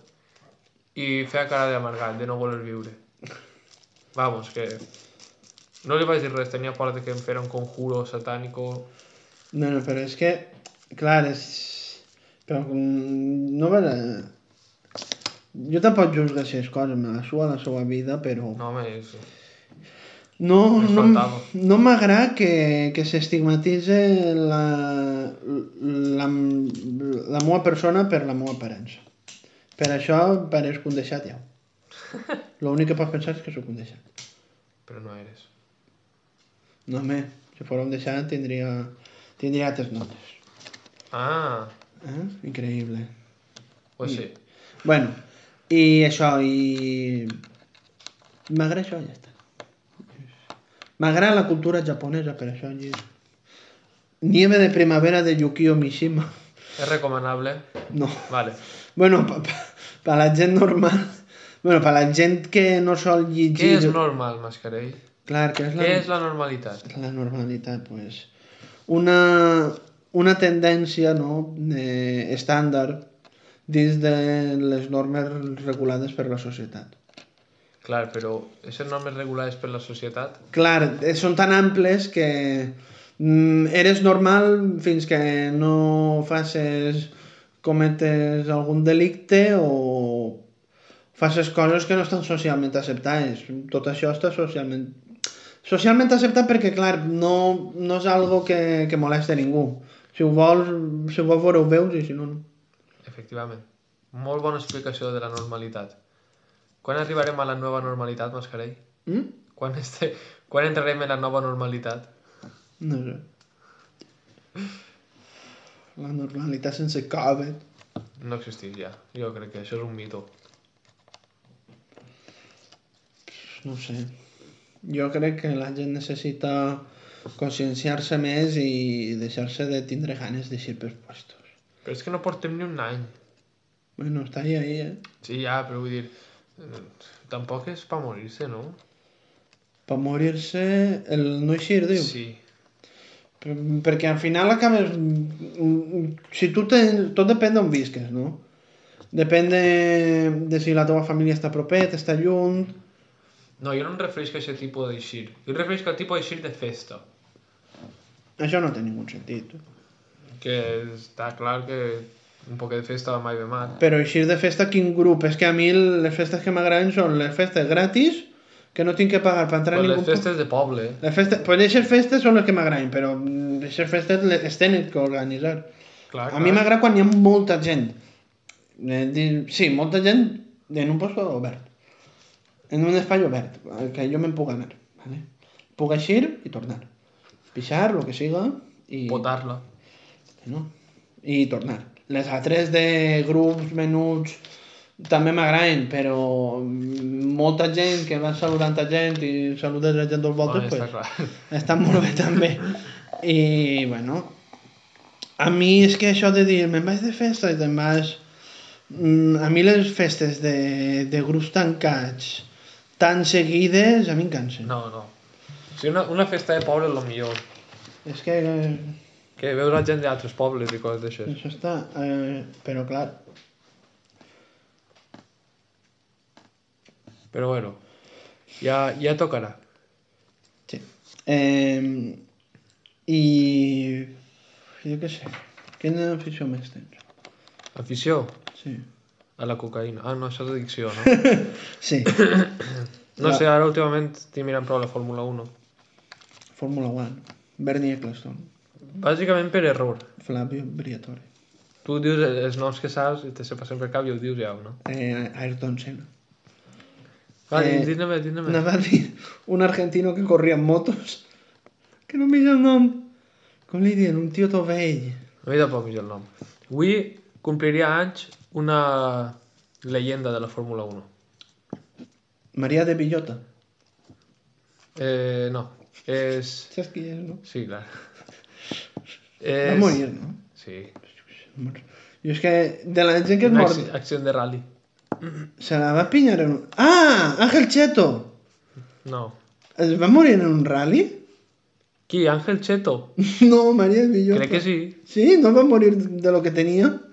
[SPEAKER 2] i feia cara d'amargat, de no voler viure. Vamos, que... No li vaig dir res, tenia por de que em fera un conjuro satánico...
[SPEAKER 1] No, no, però és que... Clar, és... Però mm, no va... Jo tampoc juzgo aquestes coses, me la sua la seva vida, però...
[SPEAKER 2] No, home, és...
[SPEAKER 1] No,
[SPEAKER 2] Em
[SPEAKER 1] no,
[SPEAKER 2] faltava.
[SPEAKER 1] no m'agrada que, que s'estigmatitze la, la, la meva persona per la meva aparença. Per això pareix un deixat, ja. <laughs> L'únic que pots pensar és que sóc un deixat.
[SPEAKER 2] Però no eres.
[SPEAKER 1] No, home, si fora un deixat tindria, tindria altres notes.
[SPEAKER 2] Ah,
[SPEAKER 1] Eh? Increïble.
[SPEAKER 2] pues sí.
[SPEAKER 1] Bueno, i això, i... M'agrada això, ja està. M'agrada la cultura japonesa, per això hi és. Nieve de primavera de Yukio Mishima. <laughs>
[SPEAKER 2] És recomanable.
[SPEAKER 1] No.
[SPEAKER 2] Vale.
[SPEAKER 1] Bueno, pa, pa, pa la gent normal... Bueno, per la gent que no sol
[SPEAKER 2] Què
[SPEAKER 1] llegir...
[SPEAKER 2] és normal, Mascarell?
[SPEAKER 1] Clar, que és la,
[SPEAKER 2] Què és la normalitat?
[SPEAKER 1] la normalitat, pues. Una, una tendència, no?, eh, estàndard dins de les normes regulades per la societat.
[SPEAKER 2] Clar, però aquestes normes regulades per la societat...
[SPEAKER 1] Clar, eh, són tan amples que mm, eres normal fins que no faces cometes algun delicte o faces coses que no estan socialment acceptades. Tot això està socialment... Socialment acceptat perquè, clar, no, no és algo que, que moleste a ningú. Si ho vols, si ho vols veure, ho veus i si no, no.
[SPEAKER 2] Efectivament. Molt bona explicació de la normalitat. Quan arribarem a la nova normalitat, Mascarell?
[SPEAKER 1] Mm?
[SPEAKER 2] Quan, este... Quan entrarem en la nova normalitat?
[SPEAKER 1] No sé. La normalitat sense Covid.
[SPEAKER 2] No existeix ja. Jo crec que això és un mito.
[SPEAKER 1] No ho sé. Jo crec que la gent necessita conscienciar-se més i deixar-se de tindre ganes de ser puestos.
[SPEAKER 2] Però és que no portem ni un any.
[SPEAKER 1] Bueno, està ahí, ahí, eh?
[SPEAKER 2] Sí, ja, però vull dir... eh, Tampoc és per morir-se, no?
[SPEAKER 1] Per morir-se, el no eixir, diu. Sí.
[SPEAKER 2] Sí.
[SPEAKER 1] Perquè al final acabes... mm, Si tu tens... Tot depèn d'on visques, no? Depèn de, de si la teva família està propet, està lluny...
[SPEAKER 2] No, jo no em refereixo a aquest tipus d'eixir. Jo em refereixo al tipus d'eixir de festa.
[SPEAKER 1] Això no té ningun sentit.
[SPEAKER 2] Que està clar que un poquet de festa va mai bé mal.
[SPEAKER 1] Però eixir de festa, quin grup? És que a mi les festes que m'agraden són les festes gratis, que no tinc que pagar per entrar
[SPEAKER 2] Però
[SPEAKER 1] a
[SPEAKER 2] les
[SPEAKER 1] ningú.
[SPEAKER 2] festes de poble, eh?
[SPEAKER 1] Les festes... Pues aquestes festes són les que m'agraden, però mm, aquestes festes les es tenen que organitzar.
[SPEAKER 2] clar,
[SPEAKER 1] A mi
[SPEAKER 2] Ah, clar.
[SPEAKER 1] m'agrada quan hi ha molta gent. Eh, di- Sí, molta gent en un lloc obert. En un espai obert, al que jo me'n puc anar. Vale? Puc eixir i tornar. Pixar, el que siga, i,
[SPEAKER 2] Potar-la.
[SPEAKER 1] no? I tornar. Les altres de grups, menuts, també m'agraden, però mm, molta gent que va saludant a gent i saludes la gent dos
[SPEAKER 2] Bueno,
[SPEAKER 1] voltes,
[SPEAKER 2] està
[SPEAKER 1] pues,
[SPEAKER 2] clar. <laughs>
[SPEAKER 1] està molt bé també. I, bueno, a mi és que això de dir, me'n vaig de festa i te'n vas... Mm, A mi les festes de, de grups tancats tan seguides, a mi em cansen.
[SPEAKER 2] No, no. Si una, una festa de poble és el millor.
[SPEAKER 1] És que eh,
[SPEAKER 2] Que veus la gent d'altres pobles i coses d'això.
[SPEAKER 1] això està... Eh, però clar,
[SPEAKER 2] Però bueno, ja, ja tocarà.
[SPEAKER 1] sí. Eh, I... Jo què sé. Quina afició més tens?
[SPEAKER 2] Afició
[SPEAKER 1] Sí.
[SPEAKER 2] a la cocaïna. Ah, no, això és addicció,
[SPEAKER 1] <laughs>
[SPEAKER 2] no?
[SPEAKER 1] Sí, <coughs>
[SPEAKER 2] No sé, ara últimament estic mirant prou la Fórmula 1.
[SPEAKER 1] Fórmula 1. Bernie Eccleston.
[SPEAKER 2] Bàsicament per error.
[SPEAKER 1] Flavio Briatore.
[SPEAKER 2] Tu dius els noms que saps i te se passen per cap i ho dius ja, no?
[SPEAKER 1] Eh, Ayrton Senna.
[SPEAKER 2] Va,
[SPEAKER 1] Eh,
[SPEAKER 2] eh, dis-ne-me, dis-ne-me.
[SPEAKER 1] Anava a dir un argentino que corria en motos. Que no em veia el nom. Com li diuen? Un tio tovell.
[SPEAKER 2] A mi tampoc és el nom. Avui compliria anys una llegenda de la Fórmula 1.
[SPEAKER 1] Maria de Villota.
[SPEAKER 2] Eh, no, és...
[SPEAKER 1] Saps qui és, no?
[SPEAKER 2] Sí,
[SPEAKER 1] <laughs>
[SPEAKER 2] clar.
[SPEAKER 1] Va
[SPEAKER 2] És...
[SPEAKER 1] morir, no?
[SPEAKER 2] Sí.
[SPEAKER 1] Mor. Jo és que de la gent que és
[SPEAKER 2] Una
[SPEAKER 1] mort
[SPEAKER 2] acci- acció de rally.
[SPEAKER 1] se la va pinyar en un... Ah! Ángel Cheto!
[SPEAKER 2] No.
[SPEAKER 1] Es va morir en un rally? <laughs>
[SPEAKER 2] Qui? Ángel Cheto?
[SPEAKER 1] No, Maria de Villota.
[SPEAKER 2] Crec que sí.
[SPEAKER 1] Sí? No va morir de lo que tenia?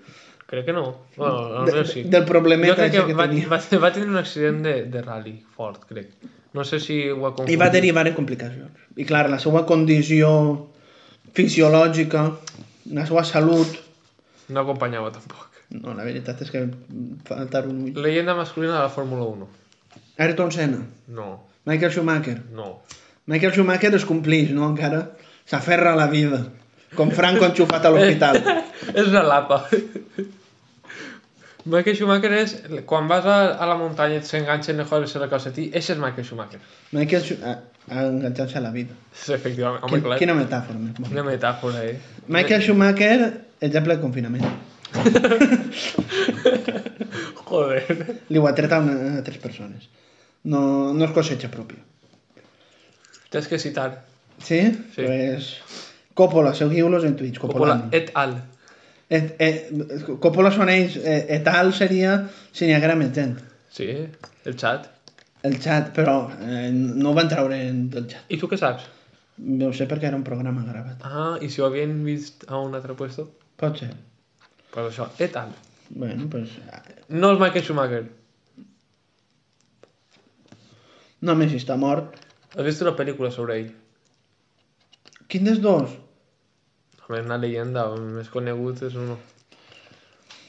[SPEAKER 2] Crec que no. Bueno,
[SPEAKER 1] De-
[SPEAKER 2] no sé sí.
[SPEAKER 1] del problemeta
[SPEAKER 2] Jo crec que,
[SPEAKER 1] ese que
[SPEAKER 2] va,
[SPEAKER 1] tenia.
[SPEAKER 2] va, va tenir un accident de, de rally fort, crec. No sé si ho ha confundit.
[SPEAKER 1] I va derivar en complicacions. I clar, la seva condició fisiològica, la seva salut...
[SPEAKER 2] No acompanyava tampoc.
[SPEAKER 1] No, la veritat és que faltar un ull.
[SPEAKER 2] Leyenda masculina de la Fórmula 1.
[SPEAKER 1] Ayrton Senna,
[SPEAKER 2] No,
[SPEAKER 1] Michael Schumacher.
[SPEAKER 2] no.
[SPEAKER 1] Michael Schumacher es complix, no encara? S'aferra a la vida. Com Franco enxufat a l'hospital.
[SPEAKER 2] <laughs> és una lapa. <laughs> Michael Schumacher és... Quan vas a, a la muntanya i et s'enganxen les coses a la cosa a ti, ese és Michael Schumacher. <laughs>
[SPEAKER 1] Michael Schumacher enganxant-se a la vida.
[SPEAKER 2] Sí, efectivament. Home,
[SPEAKER 1] Quin,
[SPEAKER 2] clar.
[SPEAKER 1] quina metàfora més bona.
[SPEAKER 2] Una metàfora, eh?
[SPEAKER 1] Michael Schumacher, exemple de confinament.
[SPEAKER 2] <laughs> Joder.
[SPEAKER 1] Li ho ha tret a, una, a tres persones. No, no és cosecha pròpia.
[SPEAKER 2] Tens que citar.
[SPEAKER 1] Sí?
[SPEAKER 2] Sí.
[SPEAKER 1] Pues, Coppola, seguiu-los en Twitch. Coppola.
[SPEAKER 2] Coppola eh. et al.
[SPEAKER 1] Et, et, Coppola són ells. Et, et al seria si n'hi haguera més gent.
[SPEAKER 2] Sí, el xat.
[SPEAKER 1] El xat, però eh, no ho van treure en- del xat.
[SPEAKER 2] I tu què saps?
[SPEAKER 1] No ho sé perquè era un programa gravat.
[SPEAKER 2] Ah, i si ho havien vist a un altre puesto?
[SPEAKER 1] Pot ser.
[SPEAKER 2] Pues això, et al.
[SPEAKER 1] Bueno, pues...
[SPEAKER 2] No és Michael Schumacher.
[SPEAKER 1] Només si està mort.
[SPEAKER 2] Has vist una pel·lícula sobre ell?
[SPEAKER 1] Quin dels dos?
[SPEAKER 2] Home, una leyenda, el més conegut és un...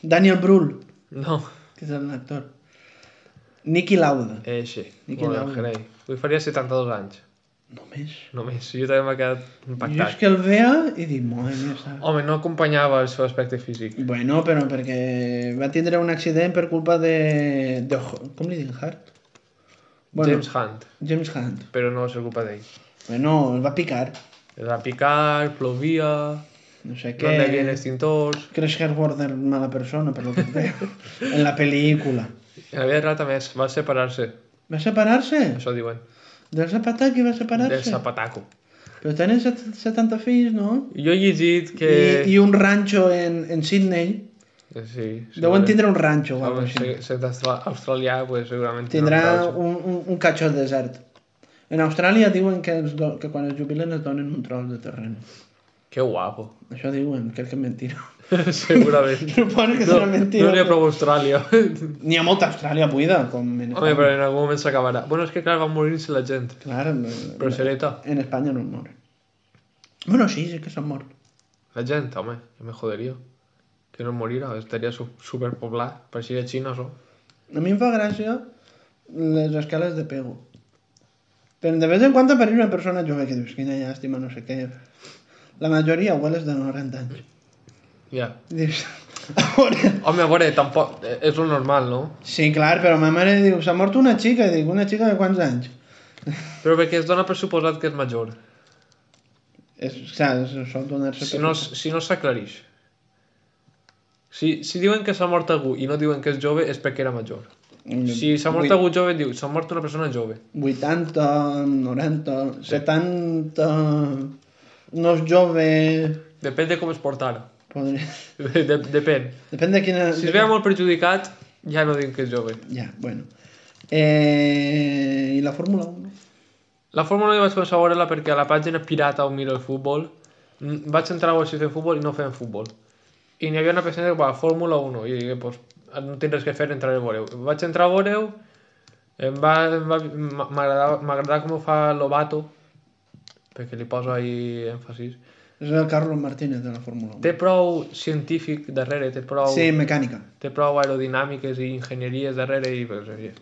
[SPEAKER 1] Daniel Brühl,
[SPEAKER 2] No,
[SPEAKER 1] que és l'actor. Niki Lauda.
[SPEAKER 2] eixe.
[SPEAKER 1] I quin
[SPEAKER 2] Bueno,
[SPEAKER 1] nom?
[SPEAKER 2] carai. Avui faria 72 anys.
[SPEAKER 1] Només.
[SPEAKER 2] Només, jo també m'ha quedat
[SPEAKER 1] Jo és
[SPEAKER 2] impactat.
[SPEAKER 1] que el vea i dic, mare meva, està...
[SPEAKER 2] Home, no acompanyava el seu aspecte físic.
[SPEAKER 1] Bueno, però perquè va tindre un accident per culpa de... de... Com li diuen, Hart? Bueno,
[SPEAKER 2] James Hunt,
[SPEAKER 1] James Hunt.
[SPEAKER 2] però no va ser culpa d'ell.
[SPEAKER 1] Bueno, el va picar.
[SPEAKER 2] Va picar, plovia,
[SPEAKER 1] No sé
[SPEAKER 2] no
[SPEAKER 1] què...
[SPEAKER 2] hi havia extintors...
[SPEAKER 1] Crash Warder mala persona, per lo que veo, en la pel·lícula.
[SPEAKER 2] En la vida real també es va separar-se,
[SPEAKER 1] Va separar-se?
[SPEAKER 2] això diuen,
[SPEAKER 1] Del Zapataki va
[SPEAKER 2] del
[SPEAKER 1] separar-se?
[SPEAKER 2] zapataco.
[SPEAKER 1] Però tenen set- 70 fills, no?
[SPEAKER 2] Jo he llegit que...
[SPEAKER 1] I, I un ranxo en, en Sydney.
[SPEAKER 2] Sí, sí,
[SPEAKER 1] Deuen tindre un ranxo o alguna
[SPEAKER 2] Home,
[SPEAKER 1] cosa així.
[SPEAKER 2] si, si ets austra- australià, pues, segurament
[SPEAKER 1] Tindrà
[SPEAKER 2] un...
[SPEAKER 1] un, un, un catxó desert. En Austràlia diuen que, els do, que quan es jubilen es donen un tros de terreny.
[SPEAKER 2] Que guapo. <laughs>
[SPEAKER 1] Això diuen, crec que és mentira. <laughs>
[SPEAKER 2] Segurament.
[SPEAKER 1] Suposo que serà mentira.
[SPEAKER 2] No n'hi ha prou a
[SPEAKER 1] <laughs>
[SPEAKER 2] Austràlia. Home,
[SPEAKER 1] N'hi ha molta Austràlia buida, com en
[SPEAKER 2] però
[SPEAKER 1] Espanya.
[SPEAKER 2] en algun moment s'acabarà. Bueno, és que clar, va morir-se la gent.
[SPEAKER 1] Clar, en,
[SPEAKER 2] Però sereta.
[SPEAKER 1] en Espanya no es moren. Bueno, sí, sí que s'han mort.
[SPEAKER 2] La gent, home, que me joderia. Que no morirà, estaria su superpoblat. Pareixia Xina, això.
[SPEAKER 1] A mi em fa gràcia les escales de pego. Però de vez en quan apareix una persona jove que dius, quina llàstima, no sé què. La majoria abueles de 90 anys.
[SPEAKER 2] Ja.
[SPEAKER 1] Dius, a veure...
[SPEAKER 2] Home, a veure, tampoc... eh, És lo normal, no?
[SPEAKER 1] Sí, clar, però ma mare diu, s'ha mort una xica, i dic, una xica de quants anys?
[SPEAKER 2] Però perquè es dona per suposat que és major.
[SPEAKER 1] És, saps, sol donar-se...
[SPEAKER 2] Si no s- si no s'aclareix. Si, si diuen que s'ha mort algú i no diuen que és jove, és perquè era major.
[SPEAKER 1] Mm.
[SPEAKER 2] Si s'ha mort algú jove, diu, s'ha mort una persona jove.
[SPEAKER 1] 80, 90, 70... No és jove...
[SPEAKER 2] Depèn de com es porta ara.
[SPEAKER 1] Podria...
[SPEAKER 2] <laughs> De, depèn.
[SPEAKER 1] Depèn de quina...
[SPEAKER 2] Si es veia molt perjudicat, ja no diuen que és jove.
[SPEAKER 1] Ja, bueno. Eh, I la Fórmula 1?
[SPEAKER 2] La Fórmula 1 vaig començar a veure-la perquè a la pàgina pirata on miro el futbol mm, vaig entrar a veure si feien futbol i no feien futbol. I n'hi havia una persona que va, Fórmula 1, i digué, pues, no tinc res que fer, entraré a veure-ho. Vaig entrar a veure-ho, em va, em va, m'ha- m'agradava- m'agradava com ho fa Lobato, perquè li poso ahí èmfasis.
[SPEAKER 1] És el Carlos Martínez de la Fórmula 1.
[SPEAKER 2] Té prou científic darrere, té prou,
[SPEAKER 1] Sí, mecànica.
[SPEAKER 2] té prou aerodinàmiques i enginyeries darrere i pues, eh,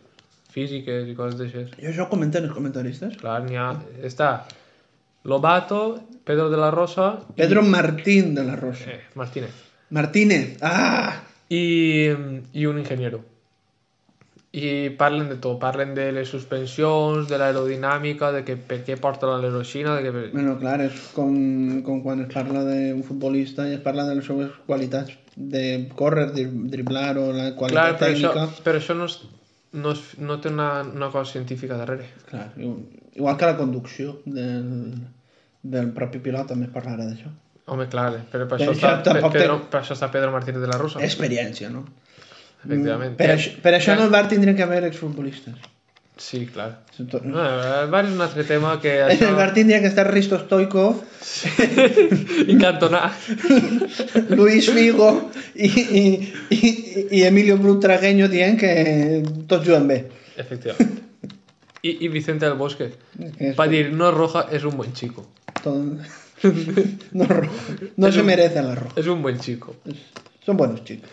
[SPEAKER 2] físiques i coses d'aixes.
[SPEAKER 1] Jo això ho comenten els comentaristes.
[SPEAKER 2] Clar, n'hi ha... Està Lobato, Pedro de la Rosa...
[SPEAKER 1] Pedro Martín de la Rosa.
[SPEAKER 2] Eh, Martínez.
[SPEAKER 1] Martínez! Ah!
[SPEAKER 2] I, I un enginyero. I parlen de tot. Parlen de les suspensions, de l'aerodinàmica, de que per què porta la l'Hiroshima, de que...
[SPEAKER 1] Bueno, clar, és com, com quan es parla d'un futbolista i es parla de les seves qualitats de córrer, dri- driblar o la
[SPEAKER 2] Clar,
[SPEAKER 1] qualitat
[SPEAKER 2] però això,
[SPEAKER 1] tècnica.
[SPEAKER 2] però això no, és, no, és, no té una, una cosa científica darrere.
[SPEAKER 1] Clar, i- igual que la conducció del, del propi pilot, també es parlarà d'això.
[SPEAKER 2] Home, clar, eh, però per,
[SPEAKER 1] Però
[SPEAKER 2] això,
[SPEAKER 1] això
[SPEAKER 2] està, per,
[SPEAKER 1] tampoc té-
[SPEAKER 2] Pedro, per això està Pedro Martínez de la Rosa,
[SPEAKER 1] Experiència, no?
[SPEAKER 2] efectivament.
[SPEAKER 1] Per, això, per això en el bar tindrien que haver exfutbolistes.
[SPEAKER 2] Sí, clar.
[SPEAKER 1] Tot-
[SPEAKER 2] No, el bar és un altre tema que...
[SPEAKER 1] <laughs> En <laughs> el bar tindria que estar Risto Stoikov,
[SPEAKER 2] <laughs> I cantonar.
[SPEAKER 1] <laughs> Luis Figo i, i, i, i Emilio Butragueño dient que tots juguen bé.
[SPEAKER 2] Efectivamente. Y, y Vicente del Bosque.
[SPEAKER 1] Que és
[SPEAKER 2] Para decir, no es roja, es un buen chico.
[SPEAKER 1] Todo- <laughs> No, ro- no se merece la roja.
[SPEAKER 2] Es un buen chico.
[SPEAKER 1] Son buenos chicos.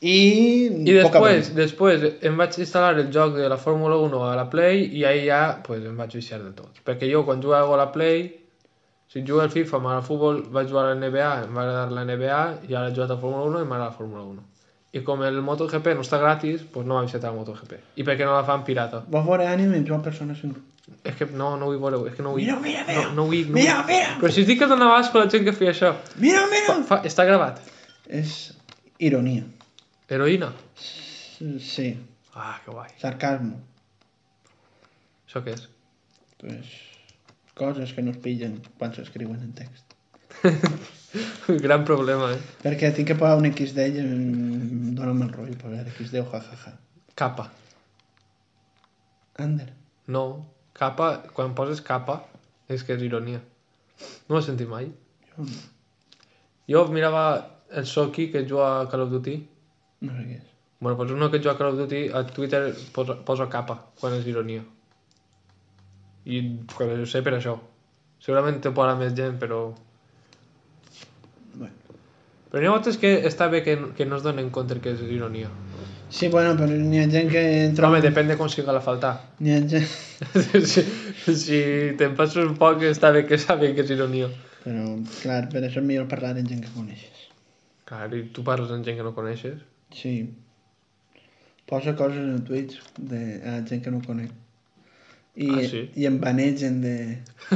[SPEAKER 1] Y,
[SPEAKER 2] Y
[SPEAKER 1] poca
[SPEAKER 2] después, después em vaig instalar el joc de la Fórmula 1 a la Play y ahí ya pues, em vaig viciar de tot. Perquè jo quan jugava a la Play, si jugo al FIFA, m'agrada el futbol, vaig jugar a la NBA, em va agradar la NBA i ara he jugat a Fórmula 1 i m'agrada la Fórmula 1. I com el MotoGP no està gratis, pues no m'ha viciat el MotoGP. I perquè no la fan pirata.
[SPEAKER 1] Vos veure anime i jo persones sin...
[SPEAKER 2] És que no, no vull veure-ho, és que no vull...
[SPEAKER 1] Mira, mira, mira.
[SPEAKER 2] no, no Pues, vull, no
[SPEAKER 1] Mira,
[SPEAKER 2] vull.
[SPEAKER 1] mira.
[SPEAKER 2] Però si us dic que donava asco a la gent que feia això.
[SPEAKER 1] Mira, mira.
[SPEAKER 2] Fa, està gravat.
[SPEAKER 1] És ironia.
[SPEAKER 2] Heroïna.
[SPEAKER 1] Sí,
[SPEAKER 2] Ah, que guai.
[SPEAKER 1] sarcasmo.
[SPEAKER 2] Això què és? <laughs>
[SPEAKER 1] Pues, coses que no es pillen quan s'escriuen en text.
[SPEAKER 2] Gran problema, eh?
[SPEAKER 1] Perquè tinc que pagar un XD i em dóna mal rotllo pagar XD o jajaja.
[SPEAKER 2] Capa.
[SPEAKER 1] Ander.
[SPEAKER 2] No. Capa, quan poses capa, és que és ironia. No ho he sentit mai.
[SPEAKER 1] Jo no,
[SPEAKER 2] Jo mirava el Soki que juga a Call of Duty.
[SPEAKER 1] no sé què és.
[SPEAKER 2] Bueno, pues uno que juga a Call of Duty, a Twitter posa, posa capa, quan és ironia. I pues, ho sé per això. Segurament te parla més gent, però...
[SPEAKER 1] Bueno.
[SPEAKER 2] Però n'hi ha altres que està bé que, que no es donen compte que és ironia.
[SPEAKER 1] Sí, bueno, però n'hi ha gent que...
[SPEAKER 2] Però,
[SPEAKER 1] Troba...
[SPEAKER 2] home, depèn de com siga la faltar.
[SPEAKER 1] N'hi ha gent...
[SPEAKER 2] <laughs> si, si te'n passes un poc està bé que sàpiga que és ironia.
[SPEAKER 1] Però, clar, per això és millor parlar amb gent que coneixes.
[SPEAKER 2] Clar, i tu parles amb gent que no coneixes. <laughs>
[SPEAKER 1] Sí. Posa coses en tuits de a gent que no conec. I,
[SPEAKER 2] Ah, sí? Ah.
[SPEAKER 1] I em banegen de,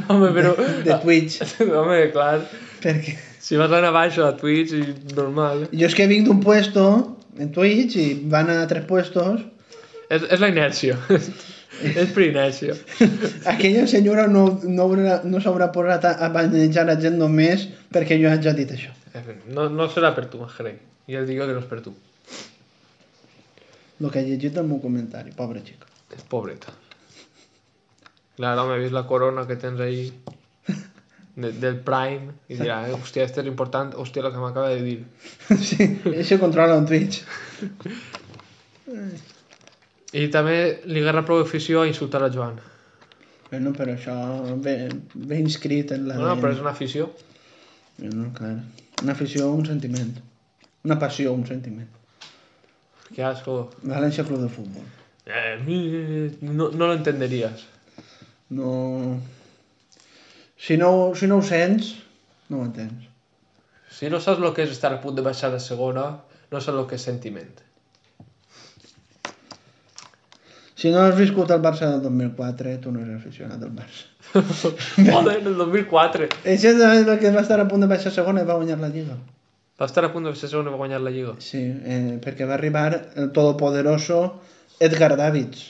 [SPEAKER 2] Home, però...
[SPEAKER 1] de Twitch,
[SPEAKER 2] Home, clar,
[SPEAKER 1] perquè...
[SPEAKER 2] si vas anar baix a Twitch, i normal.
[SPEAKER 1] Jo és que vinc d'un puesto en Twitch i van a tres puestos.
[SPEAKER 2] És, és la inèrcia. és per inèrcia.
[SPEAKER 1] Aquella senyora no, no, haurà, no s'haurà posat a, a banejar la gent només perquè jo haig dit això.
[SPEAKER 2] En fi, no, no serà per tu, crec. Ja et dic que no és per tu.
[SPEAKER 1] El que he llegit al meu comentari, pobre xic.
[SPEAKER 2] És pobreta. Clar, home, he vist la corona que tens ahí de, del Prime i dirà, eh, hòstia, este és important, hòstia, el que m'acaba de dir.
[SPEAKER 1] <laughs> Sí, això controla en Twitch.
[SPEAKER 2] I també li agarra prou afició a insultar a Joan.
[SPEAKER 1] Bueno, però això ve, ve inscrit en la
[SPEAKER 2] No, no,
[SPEAKER 1] gent.
[SPEAKER 2] però és una afició.
[SPEAKER 1] Bueno, clar. Una afició, un sentiment. Una passió, un sentiment.
[SPEAKER 2] Qué asco.
[SPEAKER 1] València Club de Futbol.
[SPEAKER 2] Eh, no, no lo entenderías.
[SPEAKER 1] No... Si no, si no ho sents, no ho entens.
[SPEAKER 2] Si no saps el que és estar a punt de baixar de segona, no saps el que és sentiment.
[SPEAKER 1] Si no has viscut el Barça del 2004, tu no eres aficionat al Barça.
[SPEAKER 2] Joder, en el 2004.
[SPEAKER 1] Això és el que va estar a punt de baixar segona i va guanyar la Lliga.
[SPEAKER 2] Va estar a punt de ser segon i va guanyar la Lliga.
[SPEAKER 1] Sí, eh, perquè va arribar el todopoderoso Edgar Davids.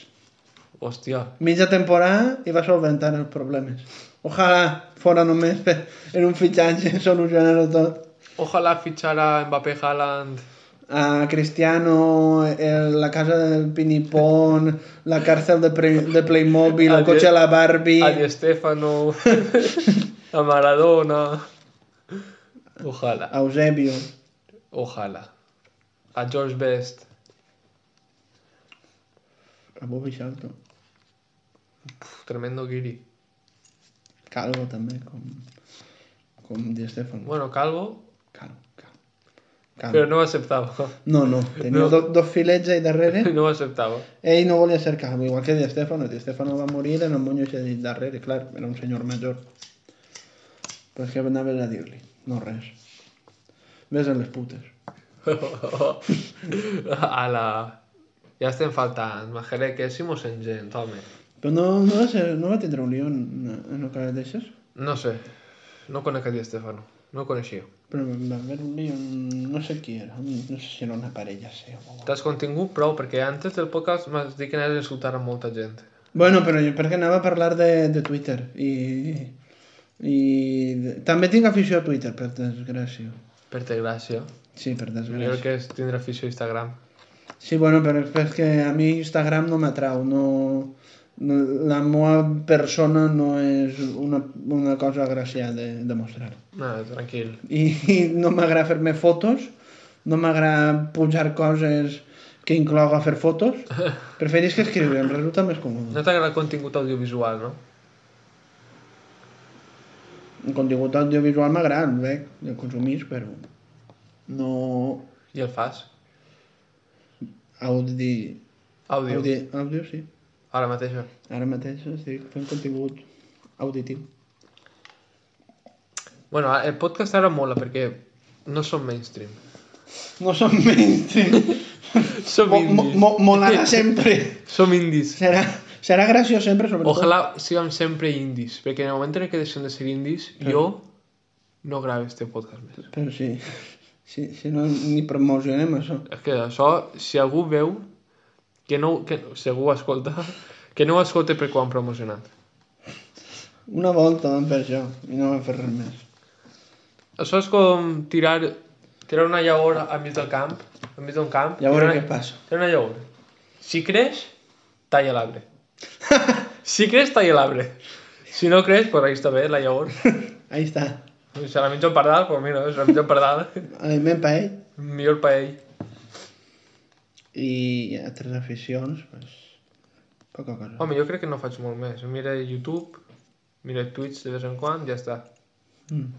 [SPEAKER 2] Hòstia.
[SPEAKER 1] Mitja temporada i va solventar els problemes. Ojalà fora només per, en un fitxatge <laughs> solucionar-ho tot.
[SPEAKER 2] Ojalá fitxara Mbappé Haaland.
[SPEAKER 1] A Cristiano, el, la casa del Pinipón, la càrcel de, pre, de Playmobil, el
[SPEAKER 2] Adiós.
[SPEAKER 1] cotxe a la Barbie...
[SPEAKER 2] A Di Stefano, <laughs> a Maradona. Ojalá,
[SPEAKER 1] A Eusebio.
[SPEAKER 2] ojalá. A George Best.
[SPEAKER 1] A Bobby Charlton.
[SPEAKER 2] Uf, tremendo guiri.
[SPEAKER 1] Calvo també, com, com Di Stefano.
[SPEAKER 2] Bueno, calvo,
[SPEAKER 1] Calvo, calvo.
[SPEAKER 2] però
[SPEAKER 1] calvo.
[SPEAKER 2] no ho acceptava.
[SPEAKER 1] No, no, tenia
[SPEAKER 2] No.
[SPEAKER 1] no. dos, dos filets ahí darrere.
[SPEAKER 2] <laughs> No ho acceptava.
[SPEAKER 1] Ell no volia ser calvo, pues igual que Di Stefano. Di Stefano va morir en el monyo que dit darrere, clar, era un senyor major. Però és que anaves a dir-li, no res. Ves a les putes.
[SPEAKER 2] a la... Ja estem faltant, Majeré, que si mos engent, home.
[SPEAKER 1] Però no, no, va, ser, no va tindre un lío en, en el cas d'aixes?
[SPEAKER 2] No sé, no conec a Di Stefano, no ho coneixia.
[SPEAKER 1] Però va haver un lío, en- no sé qui era, no sé si era una parella seva. o-
[SPEAKER 2] T'has contingut prou, perquè antes del podcast m'has dit que anaves a insultar a molta gent.
[SPEAKER 1] Bueno, però jo perquè anava a parlar de, de Twitter i... I de- també tinc afició a Twitter, per desgràcia.
[SPEAKER 2] Per te gràcia.
[SPEAKER 1] Sí, per desgràcia.
[SPEAKER 2] Millor que és tindre afició a Instagram.
[SPEAKER 1] Sí, bueno, però és perquè a mi Instagram no m'atrau, no... no- La meva persona no és una, una cosa gràcia de, de mostrar.
[SPEAKER 2] No, tranquil.
[SPEAKER 1] I, i no m'agrada fer-me fotos, no m'agrada pujar coses que inclogui fer fotos. Preferís que escriure, em resulta més còmode.
[SPEAKER 2] No t'agrada el contingut audiovisual, no?
[SPEAKER 1] El contingut audiovisual m'agrada, bé, el consumís, però no
[SPEAKER 2] I el fas?
[SPEAKER 1] audi...
[SPEAKER 2] Àudio.
[SPEAKER 1] Audi, audio, sí.
[SPEAKER 2] Ara mateix.
[SPEAKER 1] Ara mateix estic fent contingut auditiu.
[SPEAKER 2] Bueno, el podcast ara mola perquè no som mainstream.
[SPEAKER 1] No som mainstream.
[SPEAKER 2] Som
[SPEAKER 1] Mo- mo-
[SPEAKER 2] indis.
[SPEAKER 1] mo- Molarà sempre.
[SPEAKER 2] Som indis.
[SPEAKER 1] Serà, serà graciós sempre, sobretot.
[SPEAKER 2] Ojalá siguem sempre indis, perquè en el moment en què deixem de ser indis, jo no grave este podcast més.
[SPEAKER 1] Però sí, si, si no ni promocionem això.
[SPEAKER 2] És que això, si algú veu, que no, que, si algú ho escolta, <laughs> que no ho escolta per quan promocionat.
[SPEAKER 1] Una volta vam fer això i no vam fer res més.
[SPEAKER 2] Això és com tirar, tirar una llavor a mig del camp, a mig d'un camp.
[SPEAKER 1] Ja veurem
[SPEAKER 2] tirar
[SPEAKER 1] què
[SPEAKER 2] una-
[SPEAKER 1] passa.
[SPEAKER 2] Tirar una llavor. Si creix, talla l'arbre. si creix, talla l'arbre. Si no creix, pues ahí està bé, la llavor.
[SPEAKER 1] Ahí està.
[SPEAKER 2] Si la mitja pardal, pues mira, és la mitja pardal. <laughs>
[SPEAKER 1] Aliment per ell
[SPEAKER 2] Millor per ell.
[SPEAKER 1] i altres aficions, doncs, poca cosa.
[SPEAKER 2] Home, jo crec que no faig molt més. Mira YouTube, mira Twitch de vez en quan, ja està.
[SPEAKER 1] Mm.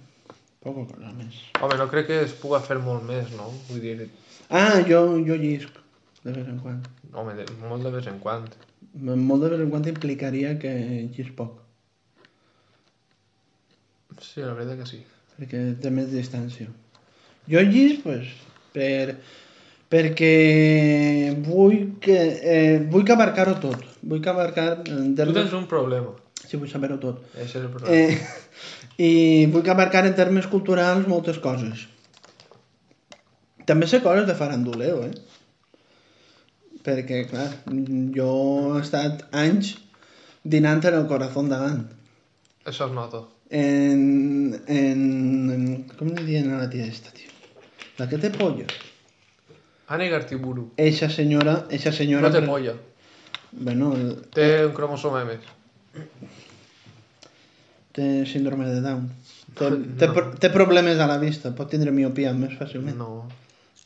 [SPEAKER 1] Poca cosa més.
[SPEAKER 2] Home, no crec que es puga fer molt més, no? Vull dir,
[SPEAKER 1] Ah, jo, jo llisc, de vegades en quan.
[SPEAKER 2] home, de, molt de vez en quan.
[SPEAKER 1] Molt de vegades en quan implicaria que llisc poc,
[SPEAKER 2] Sí, la veritat que sí.
[SPEAKER 1] perquè té més distància. Jo llisc, doncs, per, perquè vull que, eh, vull que abarcar-ho tot. Vull que abarcar... En
[SPEAKER 2] Tu
[SPEAKER 1] termes...
[SPEAKER 2] tens un problema.
[SPEAKER 1] Sí, vull saber-ho tot.
[SPEAKER 2] Això és el problema.
[SPEAKER 1] Eh, <laughs> I vull que abarcar en termes culturals moltes coses. També sé coses de faranduleo, eh? Perquè, clar, jo he estat anys dinant en el corazón davant.
[SPEAKER 2] Això es nota.
[SPEAKER 1] En, en, en com li diuen a la tia aquesta, tio? La que té pollo.
[SPEAKER 2] Anna Gartiburu.
[SPEAKER 1] Eixa senyora, eixa senyora...
[SPEAKER 2] No té
[SPEAKER 1] per-
[SPEAKER 2] polla.
[SPEAKER 1] Bueno, el-
[SPEAKER 2] Té un cromosoma més.
[SPEAKER 1] té síndrome de Down. Té, té,
[SPEAKER 2] No.
[SPEAKER 1] pro- té problemes a la vista, pot tindre miopia més fàcilment.
[SPEAKER 2] No.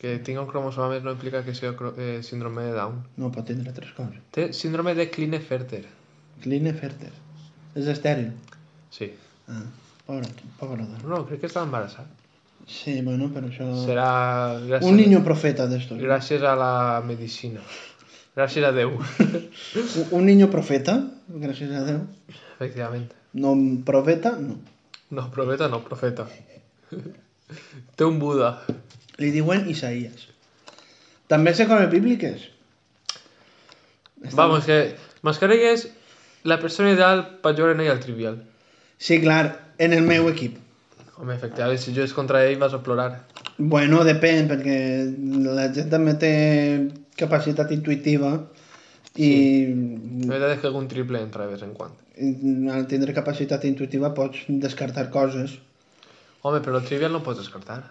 [SPEAKER 2] Que tingui un cromosoma més no implica que sigui cro- eh, síndrome de Down.
[SPEAKER 1] No, pot tindre tres coses.
[SPEAKER 2] Té síndrome de Klinefelter.
[SPEAKER 1] Klinefelter. És estèril.
[SPEAKER 2] Sí.
[SPEAKER 1] Ah, pobre, pobre dona.
[SPEAKER 2] No, crec que estava embarassada.
[SPEAKER 1] Sí, bueno, però això...
[SPEAKER 2] Serà gràcies,
[SPEAKER 1] Un niño profeta d'estos.
[SPEAKER 2] gràcies a la medicina. Gràcies a Déu,
[SPEAKER 1] Un- Un niño profeta, gràcies a Déu.
[SPEAKER 2] efectivament.
[SPEAKER 1] No un profeta, no.
[SPEAKER 2] No, profeta no, profeta. Té un Buda.
[SPEAKER 1] Li diuen Isaías. També sé coses bíbliques.
[SPEAKER 2] Vamos, que Mascarenhas és la persona ideal per jugar en ell al trivial.
[SPEAKER 1] Sí, clar, en el meu equip.
[SPEAKER 2] Home, efectivament, si jugues contra ell vas a plorar.
[SPEAKER 1] Bueno, depèn, perquè la gent també té capacitat intuïtiva i Mm.
[SPEAKER 2] La veritat és que algun triple entra de vez en quan.
[SPEAKER 1] i al tindre capacitat intuïtiva pots descartar coses.
[SPEAKER 2] Home, però el trivial no ho pots descartar.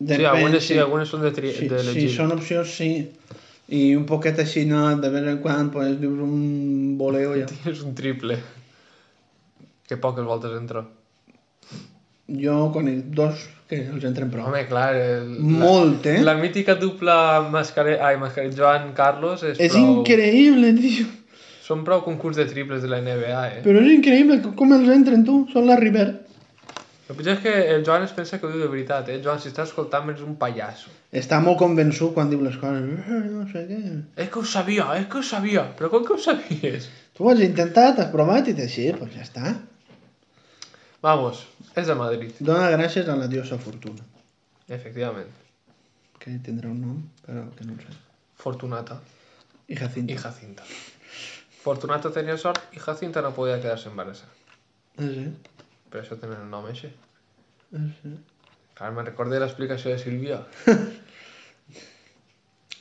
[SPEAKER 2] sí,
[SPEAKER 1] Depèn,
[SPEAKER 2] algunes sí,
[SPEAKER 1] si-
[SPEAKER 2] algunes són de, tri...
[SPEAKER 1] si,
[SPEAKER 2] de
[SPEAKER 1] si
[SPEAKER 2] legir.
[SPEAKER 1] són opcions, sí. I un poquet així, no, de vez en quan, pues, dius un voleo ja.
[SPEAKER 2] <laughs> Tens un triple. Que poques voltes entra.
[SPEAKER 1] Jo conec dos que els entren prou.
[SPEAKER 2] Home, clar, el...
[SPEAKER 1] Molt, eh?
[SPEAKER 2] La mítica dupla Mascare... Ai, Mascare... Joan Carlos és,
[SPEAKER 1] És
[SPEAKER 2] prou...
[SPEAKER 1] increïble, tio.
[SPEAKER 2] Són prou concurs de triples de la NBA, eh?
[SPEAKER 1] Però és increïble com- com els entren, tu. Són la River.
[SPEAKER 2] El pitjor és que el Joan es pensa que ho diu de veritat, eh? Joan, si estàs escoltant, eres un pallasso.
[SPEAKER 1] Està molt convençut quan diu les coses. "Eh, No sé què.
[SPEAKER 2] És que ho sabia, és que ho sabia. Però com que ho sabies?
[SPEAKER 1] Tu ho has intentat, has provat i t'així, doncs pues ja està.
[SPEAKER 2] Vamos, és de Madrid,
[SPEAKER 1] Dona gràcies a la diosa Fortuna,
[SPEAKER 2] efectivament.
[SPEAKER 1] que tindrà un nom, però que no el sé.
[SPEAKER 2] Fortunata
[SPEAKER 1] I
[SPEAKER 2] i
[SPEAKER 1] Jacinta.
[SPEAKER 2] Jacinta. Fortunata tenia sort i Jacinta no podia quedar-se embarassada.
[SPEAKER 1] Ah, sí?
[SPEAKER 2] Per això tenen el nom així.
[SPEAKER 1] Ah, sí.
[SPEAKER 2] Clar, me'n recordé l'explicació de Sílvia.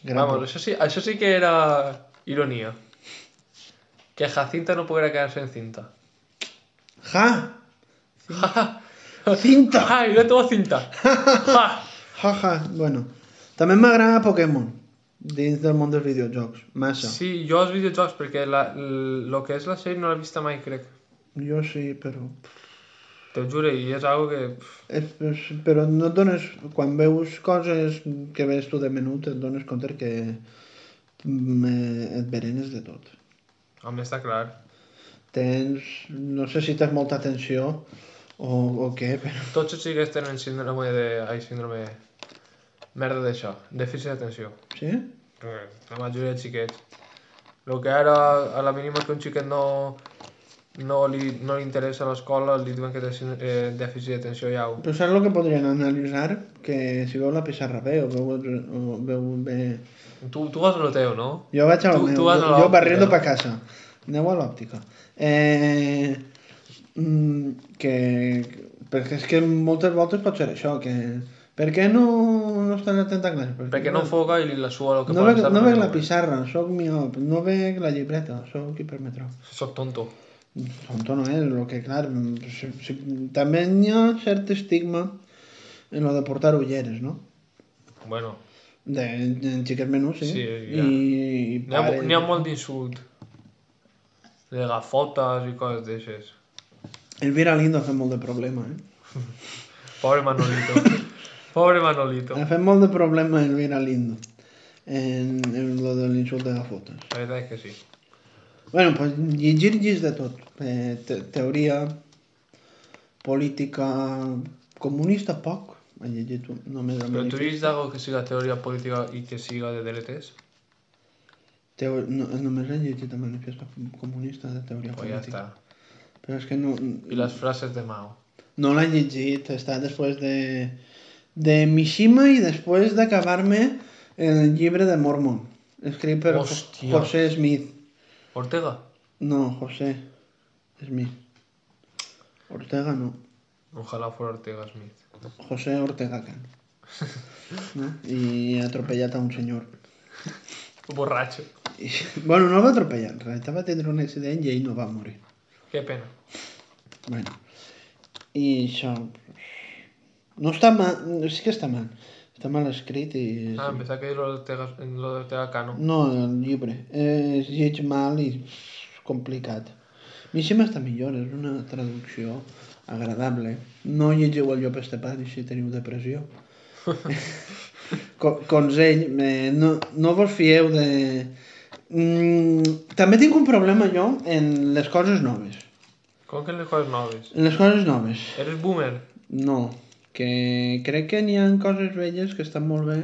[SPEAKER 1] Gran
[SPEAKER 2] Vamos, això sí, això sí que era ironia. Que Jacinta no poguera quedar-se en cinta.
[SPEAKER 1] pro- Ja! <laughs> Cinta!
[SPEAKER 2] ¡Ay, no tengo
[SPEAKER 1] <laughs>
[SPEAKER 2] cinta! Ja.
[SPEAKER 1] Ja, ja. Bueno. També m'agrada Pokémon, dins del món dels videojocs. Massa. Sí.
[SPEAKER 2] Sí, jo els videojocs, perquè la, l- lo que és la sèrie no l'he vista mai, crec.
[SPEAKER 1] Jo sí, però...
[SPEAKER 2] Te ho juro, i és algo que... pff,
[SPEAKER 1] És, és, però no et dones... Quan veus coses que veus tu de menut, et dones compte que mm, eh, et berenes de tot.
[SPEAKER 2] Home, està clar.
[SPEAKER 1] tens, no sé si tens molta atenció o, o què, però
[SPEAKER 2] Tots els xiquets tenen síndrome de... Ai, síndrome... Merda d'això. Dèficit d'atenció.
[SPEAKER 1] sí?
[SPEAKER 2] Pues, La majoria de xiquets. Lo que ara, a la mínima que un xiquet no... No li, no li interessa l'escola, li diuen que té sínd- eh, dèficit d'atenció ja. ho-
[SPEAKER 1] Però saps el que podrien analitzar? Que si veu la pissarra bé o veu, o veu bé...
[SPEAKER 2] Tu, tu vas a lo teu, no?
[SPEAKER 1] Jo vaig al
[SPEAKER 2] Tu-
[SPEAKER 1] meu,
[SPEAKER 2] tu vas
[SPEAKER 1] jo,
[SPEAKER 2] a
[SPEAKER 1] jo
[SPEAKER 2] l'òptica,
[SPEAKER 1] barriendo
[SPEAKER 2] no?
[SPEAKER 1] pa casa. Aneu a l'òptica. Eh, mm, que, perquè és que moltes voltes pot ser això, que... Per què no, no estan atent a classe?
[SPEAKER 2] Perquè no foga i li la sua el que
[SPEAKER 1] no veig,
[SPEAKER 2] estar
[SPEAKER 1] no
[SPEAKER 2] fent
[SPEAKER 1] veig
[SPEAKER 2] en
[SPEAKER 1] la
[SPEAKER 2] el moment.
[SPEAKER 1] pissarra, sóc miop, no veig la llibreta, sóc hipermetròf.
[SPEAKER 2] Soc tonto.
[SPEAKER 1] Tonto no és, eh, lo que clar, si, si, també hi ha cert estigma en lo de portar ulleres, no?
[SPEAKER 2] Bueno,
[SPEAKER 1] De, de en xiquets menús, sí.
[SPEAKER 2] Sí, ja.
[SPEAKER 1] I, i
[SPEAKER 2] N'hi ha,
[SPEAKER 1] pares.
[SPEAKER 2] n'hi ha molt d'insult. De gafotes i coses d'aixes.
[SPEAKER 1] Elvira Lindo ha fet molt de problema, eh?
[SPEAKER 2] Pobre Manolito.
[SPEAKER 1] <laughs>
[SPEAKER 2] Pobre Manolito.
[SPEAKER 1] Ha fet molt de problema Elvira Lindo en, en lo de l'insult de gafotes.
[SPEAKER 2] La veritat és que sí.
[SPEAKER 1] Bueno, pues llegir llis de tot. Eh, te, teoria, política, comunista poc. He llegit un- només el
[SPEAKER 2] Però tu
[SPEAKER 1] manifest.
[SPEAKER 2] dius d'algo que siga teoria política i que siga de dretes?
[SPEAKER 1] Teo... No, només he llegit el manifest comunista de teoria
[SPEAKER 2] Pues ja
[SPEAKER 1] política.
[SPEAKER 2] està.
[SPEAKER 1] Però és que no,
[SPEAKER 2] I les frases de Mao.
[SPEAKER 1] no l'he llegit, està després de, de Mishima i després d'acabar-me el llibre de Mormon, escrit per Jo-
[SPEAKER 2] Hòstia.
[SPEAKER 1] José Smith.
[SPEAKER 2] Ortega?
[SPEAKER 1] No, José Smith. Ortega no,
[SPEAKER 2] Ojalá fuera Ortega Smith.
[SPEAKER 1] José Ortega Can. No? I ha atropellat a un senyor.
[SPEAKER 2] Borratxo.
[SPEAKER 1] I, <laughs> bueno, no el va atropellar, en realitat va tindre un accident i ell no va morir.
[SPEAKER 2] Que pena.
[SPEAKER 1] Bueno. I això... No està mal, sí que està mal. Està mal escrit i... és-
[SPEAKER 2] Ah, em pensava que dius lo d'Ortega- lo d'Ortega Cano.
[SPEAKER 1] No, el llibre. Eh, es lleig mal i és complicat. Mishima està millor, és una traducció agradable. No llegiu el llop estepat si teniu depressió. Co- Consell, eh, no, no vos fieu de... Mm, també tinc un problema jo en les coses noves.
[SPEAKER 2] Com que en les coses noves?
[SPEAKER 1] En les coses noves.
[SPEAKER 2] Eres boomer?
[SPEAKER 1] No, que crec que n'hi ha coses velles que estan molt bé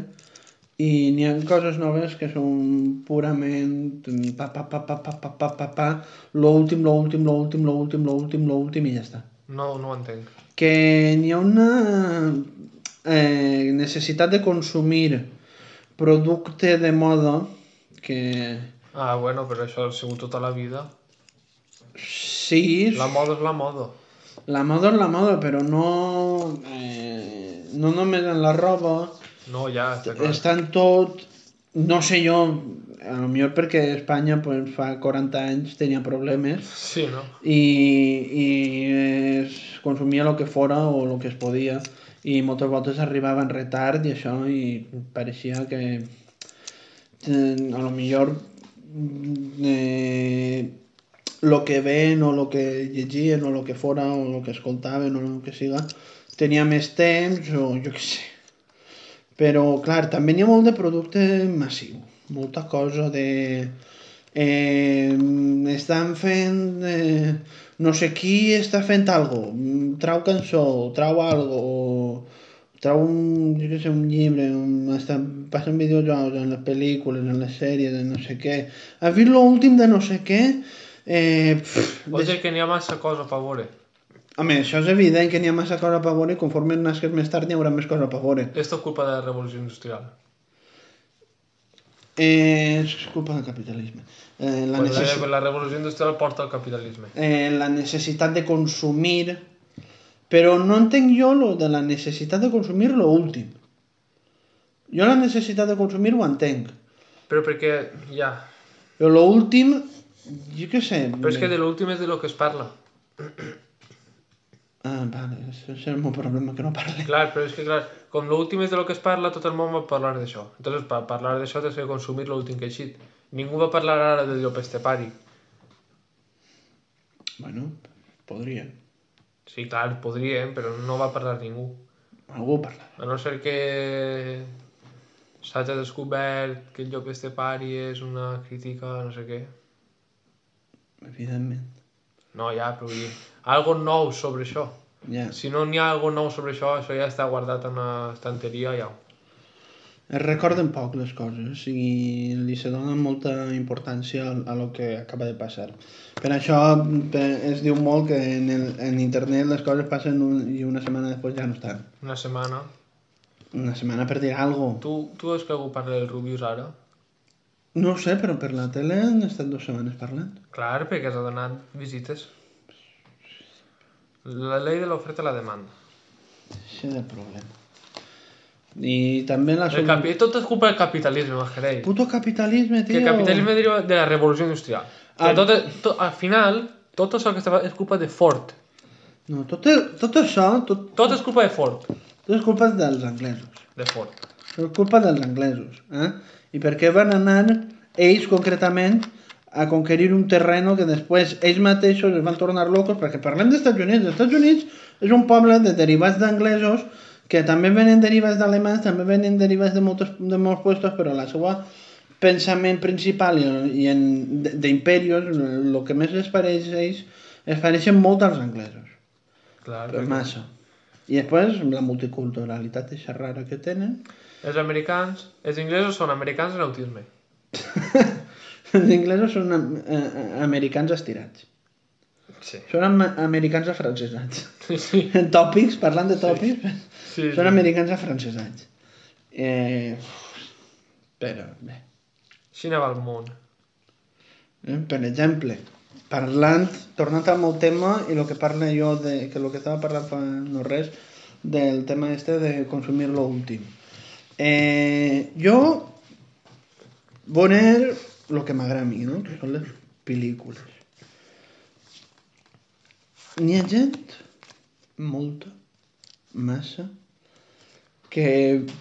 [SPEAKER 1] i n'hi ha coses noves que són purament mm, pa pa pa pa pa pa pa pa pa l'últim, l'últim, l'últim, l'últim, l'últim, l'últim i ja està.
[SPEAKER 2] No, no ho entenc.
[SPEAKER 1] Que n'hi ha una eh, necessitat de consumir producte de moda que
[SPEAKER 2] Ah, bueno, però això ha sigut tota la vida.
[SPEAKER 1] sí,
[SPEAKER 2] La moda és la moda.
[SPEAKER 1] la moda és la moda, però no, eh, no només en la roba,
[SPEAKER 2] No, ja, està clar.
[SPEAKER 1] està en tot, no sé jo, a lo millor perquè Espanya pues, fa 40 anys tenia problemes
[SPEAKER 2] Sí, no?
[SPEAKER 1] i, i es consumia el que fora o el que es podia i moltes voltes arribava en retard i això i pareixia que eh, a lo millor mm, eh, lo que ven o lo que llegien o lo que fora o lo que escoltaven o lo que siga tenia més temps o jo què sé però clar, també n'hi ha molt de producte massiu molta cosa de eh, estan fent eh, no sé qui està fent algo mm, trau cançó, trau algo o trau un, jo què sé, un llibre un, estan, passen videojocs en les pel·lícules, en les sèries, en no sé què has vist l'últim de no sé què eh, pff,
[SPEAKER 2] Vols dir que n'hi ha massa cosa a veure.
[SPEAKER 1] Home, això és evident que n'hi ha massa cosa per veure i conforme nasques més tard n'hi haurà més cosa per veure.
[SPEAKER 2] Esto es culpa de la revolució industrial.
[SPEAKER 1] Eh, és culpa del capitalisme. Eh, la,
[SPEAKER 2] La, pues
[SPEAKER 1] necess...
[SPEAKER 2] la, la revolució industrial porta al capitalisme.
[SPEAKER 1] eh, la necessitat de consumir... Però no entenc jo lo de la necessitat de consumir lo últim. Jo la necessitat de consumir ho entenc.
[SPEAKER 2] Però perquè, ja...
[SPEAKER 1] Però lo últim, jo què sé...
[SPEAKER 2] Però és que de l'últim és de lo que es parla.
[SPEAKER 1] Ah, vale, això és el meu problema que no parle.
[SPEAKER 2] Clar, però és que, clar, com l'últim és de lo que es parla, tot el món va parlar d'això. Entonces, per parlar d'això, tens que consumir l'últim que he eixit. Ningú va parlar ara del llop estepari.
[SPEAKER 1] Bueno, podria.
[SPEAKER 2] Sí, clar, podríem, però no va parlar ningú.
[SPEAKER 1] Algú parla.
[SPEAKER 2] A no ser que s'hagi descobert que el llop estepari és una crítica, no sé què.
[SPEAKER 1] Evidentment.
[SPEAKER 2] No, ja, però vull dir, algo nou sobre això.
[SPEAKER 1] Ja.
[SPEAKER 2] Si no n'hi ha algo nou sobre això, això ja està guardat en una estanteria, ja.
[SPEAKER 1] Es recorden poc les coses i li se dona molta importància al- a lo que acaba de passar. Per això pe- es diu molt que en, el, en internet les coses passen un, i una setmana després ja no estan.
[SPEAKER 2] Una setmana.
[SPEAKER 1] Una setmana per dir alguna cosa.
[SPEAKER 2] Tu, tu veus que algú parla del Rubius ara?
[SPEAKER 1] No ho sé, però per la tele han estat dues setmanes parlant.
[SPEAKER 2] Clar, perquè has donat visites. La llei de l'oferta i la demanda.
[SPEAKER 1] Això és el problema. I també la...
[SPEAKER 2] El
[SPEAKER 1] sub-
[SPEAKER 2] capi... Tot és culpa del capitalisme, mascarell.
[SPEAKER 1] Puto capitalisme, tio.
[SPEAKER 2] Que el capitalisme deriva de la revolució industrial.
[SPEAKER 1] Ah.
[SPEAKER 2] Ah. Tot, tot, al final, tot això que està fa- és culpa de Ford.
[SPEAKER 1] No, tot, el- tot això, tot,
[SPEAKER 2] Tot és culpa de Ford.
[SPEAKER 1] tot és culpa dels anglesos.
[SPEAKER 2] De Ford.
[SPEAKER 1] És culpa dels anglesos, eh? I per què van anar ells concretament a conquerir un terreno que després ells mateixos es van tornar locos, perquè parlem dels Estats Units. Els Estats Units és un poble de derivats d'anglesos que també venen derivats d'alemans, també venen derivats de molts, de molts puestos, però la seva pensament principal i, i en- d- d'imperios, el que més les pareix a ells, es pareixen molt als anglesos.
[SPEAKER 2] Clar.
[SPEAKER 1] Però massa. I després la multiculturalitat és rara que tenen,
[SPEAKER 2] Els americans, els inglesos són americans en autisme.
[SPEAKER 1] <laughs> Els inglesos són am- eh, eh, americans estirats.
[SPEAKER 2] Sí.
[SPEAKER 1] Són am americans afrancesats.
[SPEAKER 2] <laughs>
[SPEAKER 1] <laughs>
[SPEAKER 2] Sí, sí.
[SPEAKER 1] En tòpics, parlant de tòpics,
[SPEAKER 2] sí.
[SPEAKER 1] són americans afrancesats. Eh, però, bé.
[SPEAKER 2] Xina va al món.
[SPEAKER 1] Eh, Per exemple, parlant, tornant al meu tema i el que parla jo, de, que el que estava parlant fa no res, del tema este de consumir lo últim. Eh, jo voler lo que m'agrada a mi, no? que són les pel·lícules. N'hi ha gent, molta, massa, que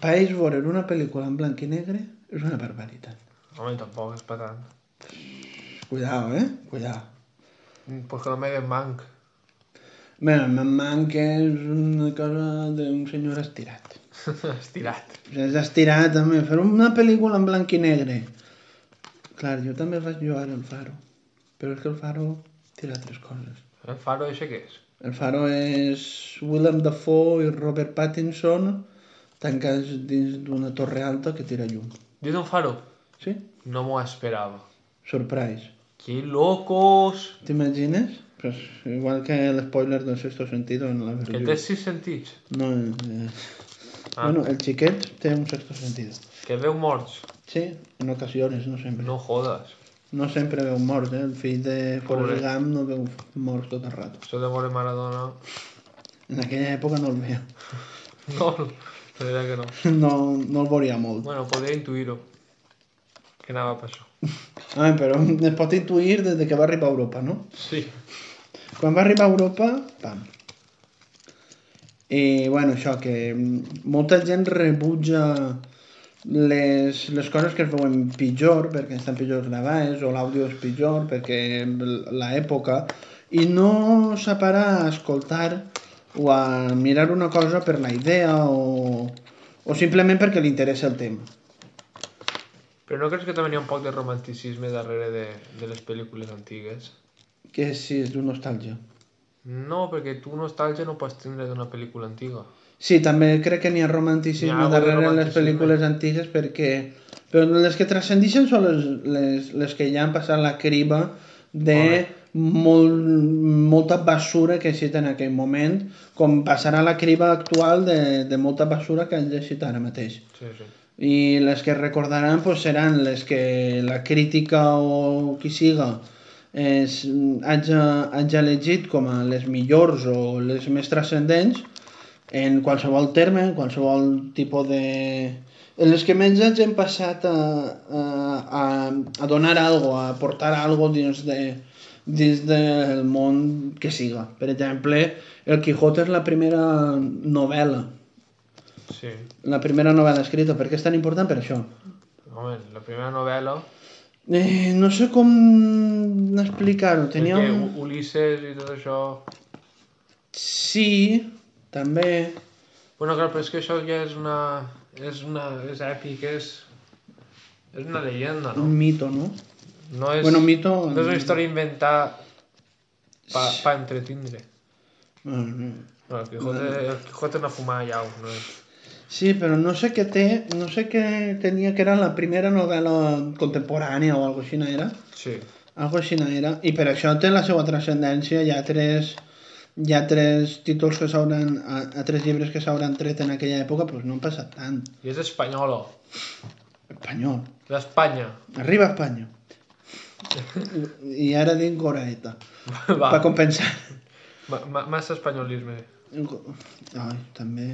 [SPEAKER 1] per ells veure una pel·lícula en blanc i negre és una barbaritat.
[SPEAKER 2] Home, tampoc és per tant.
[SPEAKER 1] Cuidao, eh? Cuidao.
[SPEAKER 2] Mm, Pues que no me den manc. <laughs>
[SPEAKER 1] Bé, me'n manca és una cosa d'un senyor estirat.
[SPEAKER 2] Estirat.
[SPEAKER 1] És estirat, també. Fer una pel·lícula en blanc i negre. Clar, jo també vaig jugar al Faro. Però és que el Faro té altres coses.
[SPEAKER 2] El faro això què és?
[SPEAKER 1] El faro és Willem Dafoe i Robert Pattinson tancats dins d'una torre alta que tira llum.
[SPEAKER 2] Dins un faro?
[SPEAKER 1] Sí?
[SPEAKER 2] No m'ho esperava.
[SPEAKER 1] Surprise.
[SPEAKER 2] ¡Qué locos!
[SPEAKER 1] T'imagines? Pues, igual que l'espoiler del sexto sentido en la
[SPEAKER 2] Que
[SPEAKER 1] versió.
[SPEAKER 2] té sis sentits.
[SPEAKER 1] No, eh...
[SPEAKER 2] Ah.
[SPEAKER 1] Bueno, el xiquet té un sexto sentido.
[SPEAKER 2] Que veu morts.
[SPEAKER 1] Sí, en ocasiones, no sempre.
[SPEAKER 2] No jodes.
[SPEAKER 1] No sempre veu morts, eh? El fill de
[SPEAKER 2] Pobre.
[SPEAKER 1] Forrest Gump no veu morts tot el rato.
[SPEAKER 2] Això de veure Maradona... <laughs>
[SPEAKER 1] En aquella època no el veia.
[SPEAKER 2] No, la veritat que no.
[SPEAKER 1] <laughs> No, no el veuria molt.
[SPEAKER 2] Bueno, podria intuir-ho. Que anava per això.
[SPEAKER 1] Ah, però es pot intuir des de que va arribar a Europa, no?
[SPEAKER 2] Sí.
[SPEAKER 1] Quan va arribar a Europa, pam. I, bueno, això, que mm, molta gent rebutja les, les coses que es veuen pitjor, perquè estan pitjor gravades, o l'àudio és pitjor, perquè l- l'època, i no s'ha parat a escoltar o a mirar una cosa per la idea o, o simplement perquè li interessa el tema.
[SPEAKER 2] Però no creus que també hi ha un poc de romanticisme darrere de, de les pel·lícules antigues?
[SPEAKER 1] Que sí, és d'una nostàlgia.
[SPEAKER 2] No, perquè tu nostàlgia no pots tindre d'una pel·lícula antiga.
[SPEAKER 1] Sí, també crec que n'hi ha
[SPEAKER 2] N'hi
[SPEAKER 1] romanticisme
[SPEAKER 2] ha algo de
[SPEAKER 1] darrere les
[SPEAKER 2] romanticisme.
[SPEAKER 1] pel·lícules antigues perquè... Però les que transcendixen són les, les, les que ja han passat la criba de molt, molta basura que existe en aquell moment, com passarà la criba actual de, de molta basura que han llegit ara mateix.
[SPEAKER 2] Sí, sí.
[SPEAKER 1] I les que recordaran pues, seran les que la crítica o qui siga es, haja, haja elegit com a les millors o les més transcendents en qualsevol terme, en qualsevol tipus de... En les que menys ens hem passat a, a, a, a donar algo, a aportar algo dins de, dins del món que siga. Per exemple, El Quijote és la primera novel·la
[SPEAKER 2] Sí.
[SPEAKER 1] la primera novel·la escrita. Per què és tan important? Per això.
[SPEAKER 2] Home, la primera novel·la...
[SPEAKER 1] Eh, no sé com explicar-ho. Tenia
[SPEAKER 2] Perquè
[SPEAKER 1] un...
[SPEAKER 2] U- Ulisses i tot això...
[SPEAKER 1] Sí, també.
[SPEAKER 2] Bueno, clar, però és que això ja és una... És una... És èpic, és... És una llegenda, no?
[SPEAKER 1] Un mito, no?
[SPEAKER 2] No és,
[SPEAKER 1] Bueno, mito...
[SPEAKER 2] no és una història inventada pa, pa entretindre.
[SPEAKER 1] Bueno,
[SPEAKER 2] No, el Quijote, el Quijote no fumava llau, no és...
[SPEAKER 1] Sí, però no sé què té... No sé què tenia que era la primera novel·la contemporània o alguna cosa així era.
[SPEAKER 2] Sí.
[SPEAKER 1] Algo així no era. I per això té la seva transcendència. Hi ha tres, hi ha tres títols que s'hauran... A, a, tres llibres que s'hauran tret en aquella època, però no han passat tant.
[SPEAKER 2] I és espanyola.
[SPEAKER 1] Espanyol.
[SPEAKER 2] D'Espanya.
[SPEAKER 1] Arriba a Espanya. I ara dic Goraeta.
[SPEAKER 2] <laughs> Va,
[SPEAKER 1] Per compensar.
[SPEAKER 2] ma- ma- massa espanyolisme.
[SPEAKER 1] Ai, també...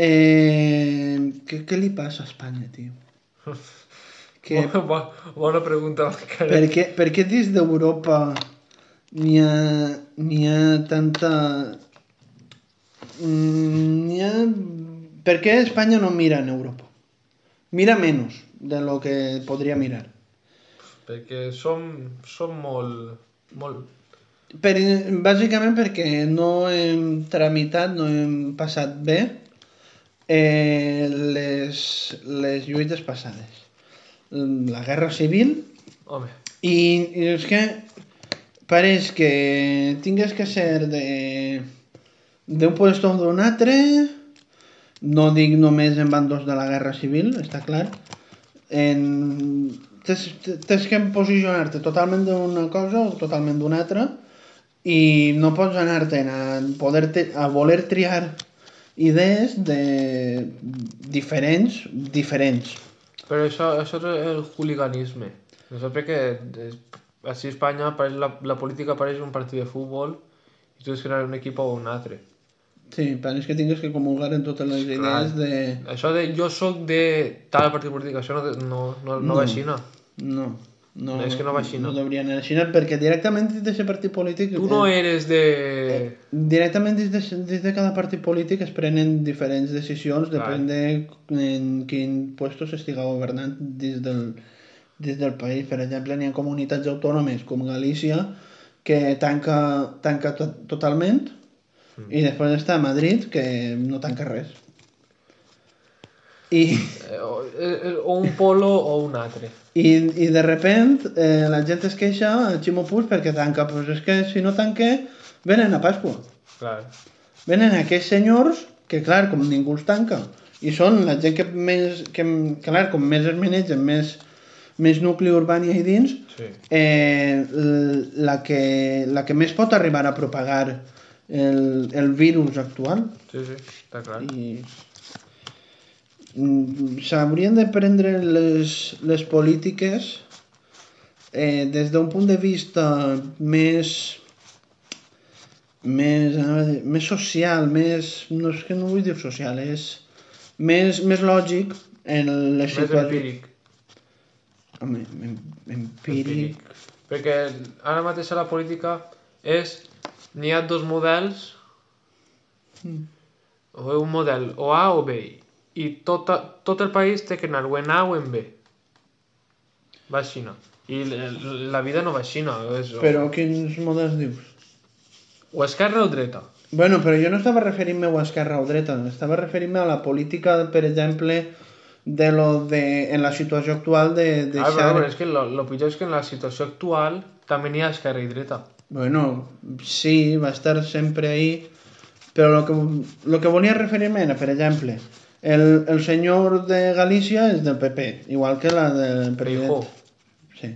[SPEAKER 1] Eh, què, què li passa a Espanya, tio?
[SPEAKER 2] <laughs>
[SPEAKER 1] Que,
[SPEAKER 2] Bona, bona, bona pregunta,
[SPEAKER 1] per,
[SPEAKER 2] Mascaret.
[SPEAKER 1] què, per què dins d'Europa n'hi ha, n'hi ha tanta... Mm, N'hi ha... Per què Espanya no mira en Europa? Mira menys de lo que podria mirar.
[SPEAKER 2] Perquè som, som molt... molt...
[SPEAKER 1] Per, bàsicament perquè no hem tramitat, no hem passat bé eh, les, les lluites passades. La guerra civil
[SPEAKER 2] Home,
[SPEAKER 1] i, i és que pareix que tingues que ser de d'un puesto o d'un altre no dic només en bandos de la guerra civil, està clar en... tens tens que posicionar-te totalment d'una cosa o totalment d'una altra i no pots anar-te'n a, poder te- a voler triar idees de diferents, diferents.
[SPEAKER 2] però això, això és el hooliganisme. Nosaltres que eh, així a Espanya apareix la, la política apareix un partit de futbol i tu has crear un equip o un altre.
[SPEAKER 1] Sí, pareix que tingues que comulgar en totes les
[SPEAKER 2] clar.
[SPEAKER 1] idees de...
[SPEAKER 2] Això de jo sóc de tal partit polític, això no, no, no, no va així, no.
[SPEAKER 1] No, no,
[SPEAKER 2] No, és que no va així, no.
[SPEAKER 1] no hauria d'anar així, no, perquè directament dins d'aquest partit polític... eh,
[SPEAKER 2] Tu no eres de...
[SPEAKER 1] Directament dins de, dins de cada partit polític es prenen diferents decisions,
[SPEAKER 2] Clar.
[SPEAKER 1] depèn de en quin puesto s'estiga governant dins del, dins del país. Per exemple, n'hi ha comunitats autònomes com Galícia que tanca, tanca to totalment
[SPEAKER 2] Mm.
[SPEAKER 1] i després està Madrid que no tanca res. I,
[SPEAKER 2] Eh, O, eh, o un polo o un altre.
[SPEAKER 1] i, i de repent eh, la gent es queixa a Ximo Puig perquè tanca, però és que si no tanque, venen a Pasqua.
[SPEAKER 2] Clar.
[SPEAKER 1] Venen aquests senyors que, clar, com ningú els tanca, i són la gent que més, que, clar, com més es manegen, més, més nucli urbà hi ha dins,
[SPEAKER 2] Sí.
[SPEAKER 1] eh, l- la, que, la que més pot arribar a propagar el, el virus actual
[SPEAKER 2] Sí, sí, està clar.
[SPEAKER 1] i mm, s'haurien de prendre les, les polítiques eh, des d'un punt de vista més més, anava a dir, més social, més... No és que no vull dir social, és més, més lògic en les
[SPEAKER 2] Més empíric.
[SPEAKER 1] Home, em, empíric.
[SPEAKER 2] empíric. Perquè ara mateix a la política és... N'hi ha dos models,
[SPEAKER 1] Mm.
[SPEAKER 2] o un model o A o B, i tot, tot el país té que anar o en A o en B. Va així, no. I l- la vida no va així, no. És, o-
[SPEAKER 1] Però quins models dius?
[SPEAKER 2] O esquerra o dreta.
[SPEAKER 1] Bueno, però jo no estava referint-me a esquerra o dreta, estava referint-me a la política, per exemple, de lo de, en la situació actual de
[SPEAKER 2] Ah, però,
[SPEAKER 1] deixar...
[SPEAKER 2] però és que lo, lo pitjor és que en la situació actual també n'hi ha esquerra i dreta.
[SPEAKER 1] Bueno, sí, va estar sempre ahí, però lo que, lo que volia referir-me era, per exemple, el, el senyor de Galícia és del PP, igual que la del president...
[SPEAKER 2] Feijó.
[SPEAKER 1] Sí.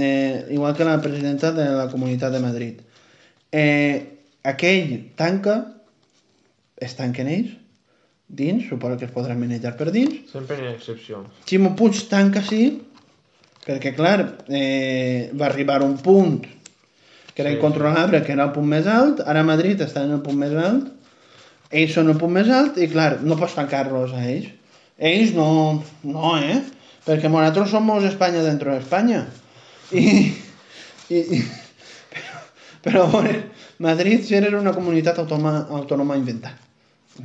[SPEAKER 1] Eh, igual que la presidenta de la Comunitat de Madrid. Eh, aquell tanca, es tanquen ells, dins, suposo que es podran manejar per dins.
[SPEAKER 2] Sempre n'hi ha excepcions.
[SPEAKER 1] Ximo Puig tanca sí, perquè clar, eh, va arribar un punt que era
[SPEAKER 2] Sí, sí.
[SPEAKER 1] incontrolable, que era el punt més alt, ara Madrid està en el punt més alt, ells són el punt més alt i clar, no pots tancar-los a ells. Ells no, no, eh? Perquè nosaltres som Espanya dentro d'Espanya. I, i, i, <laughs> però, però bueno, Madrid si era una comunitat autònoma, autònoma inventada.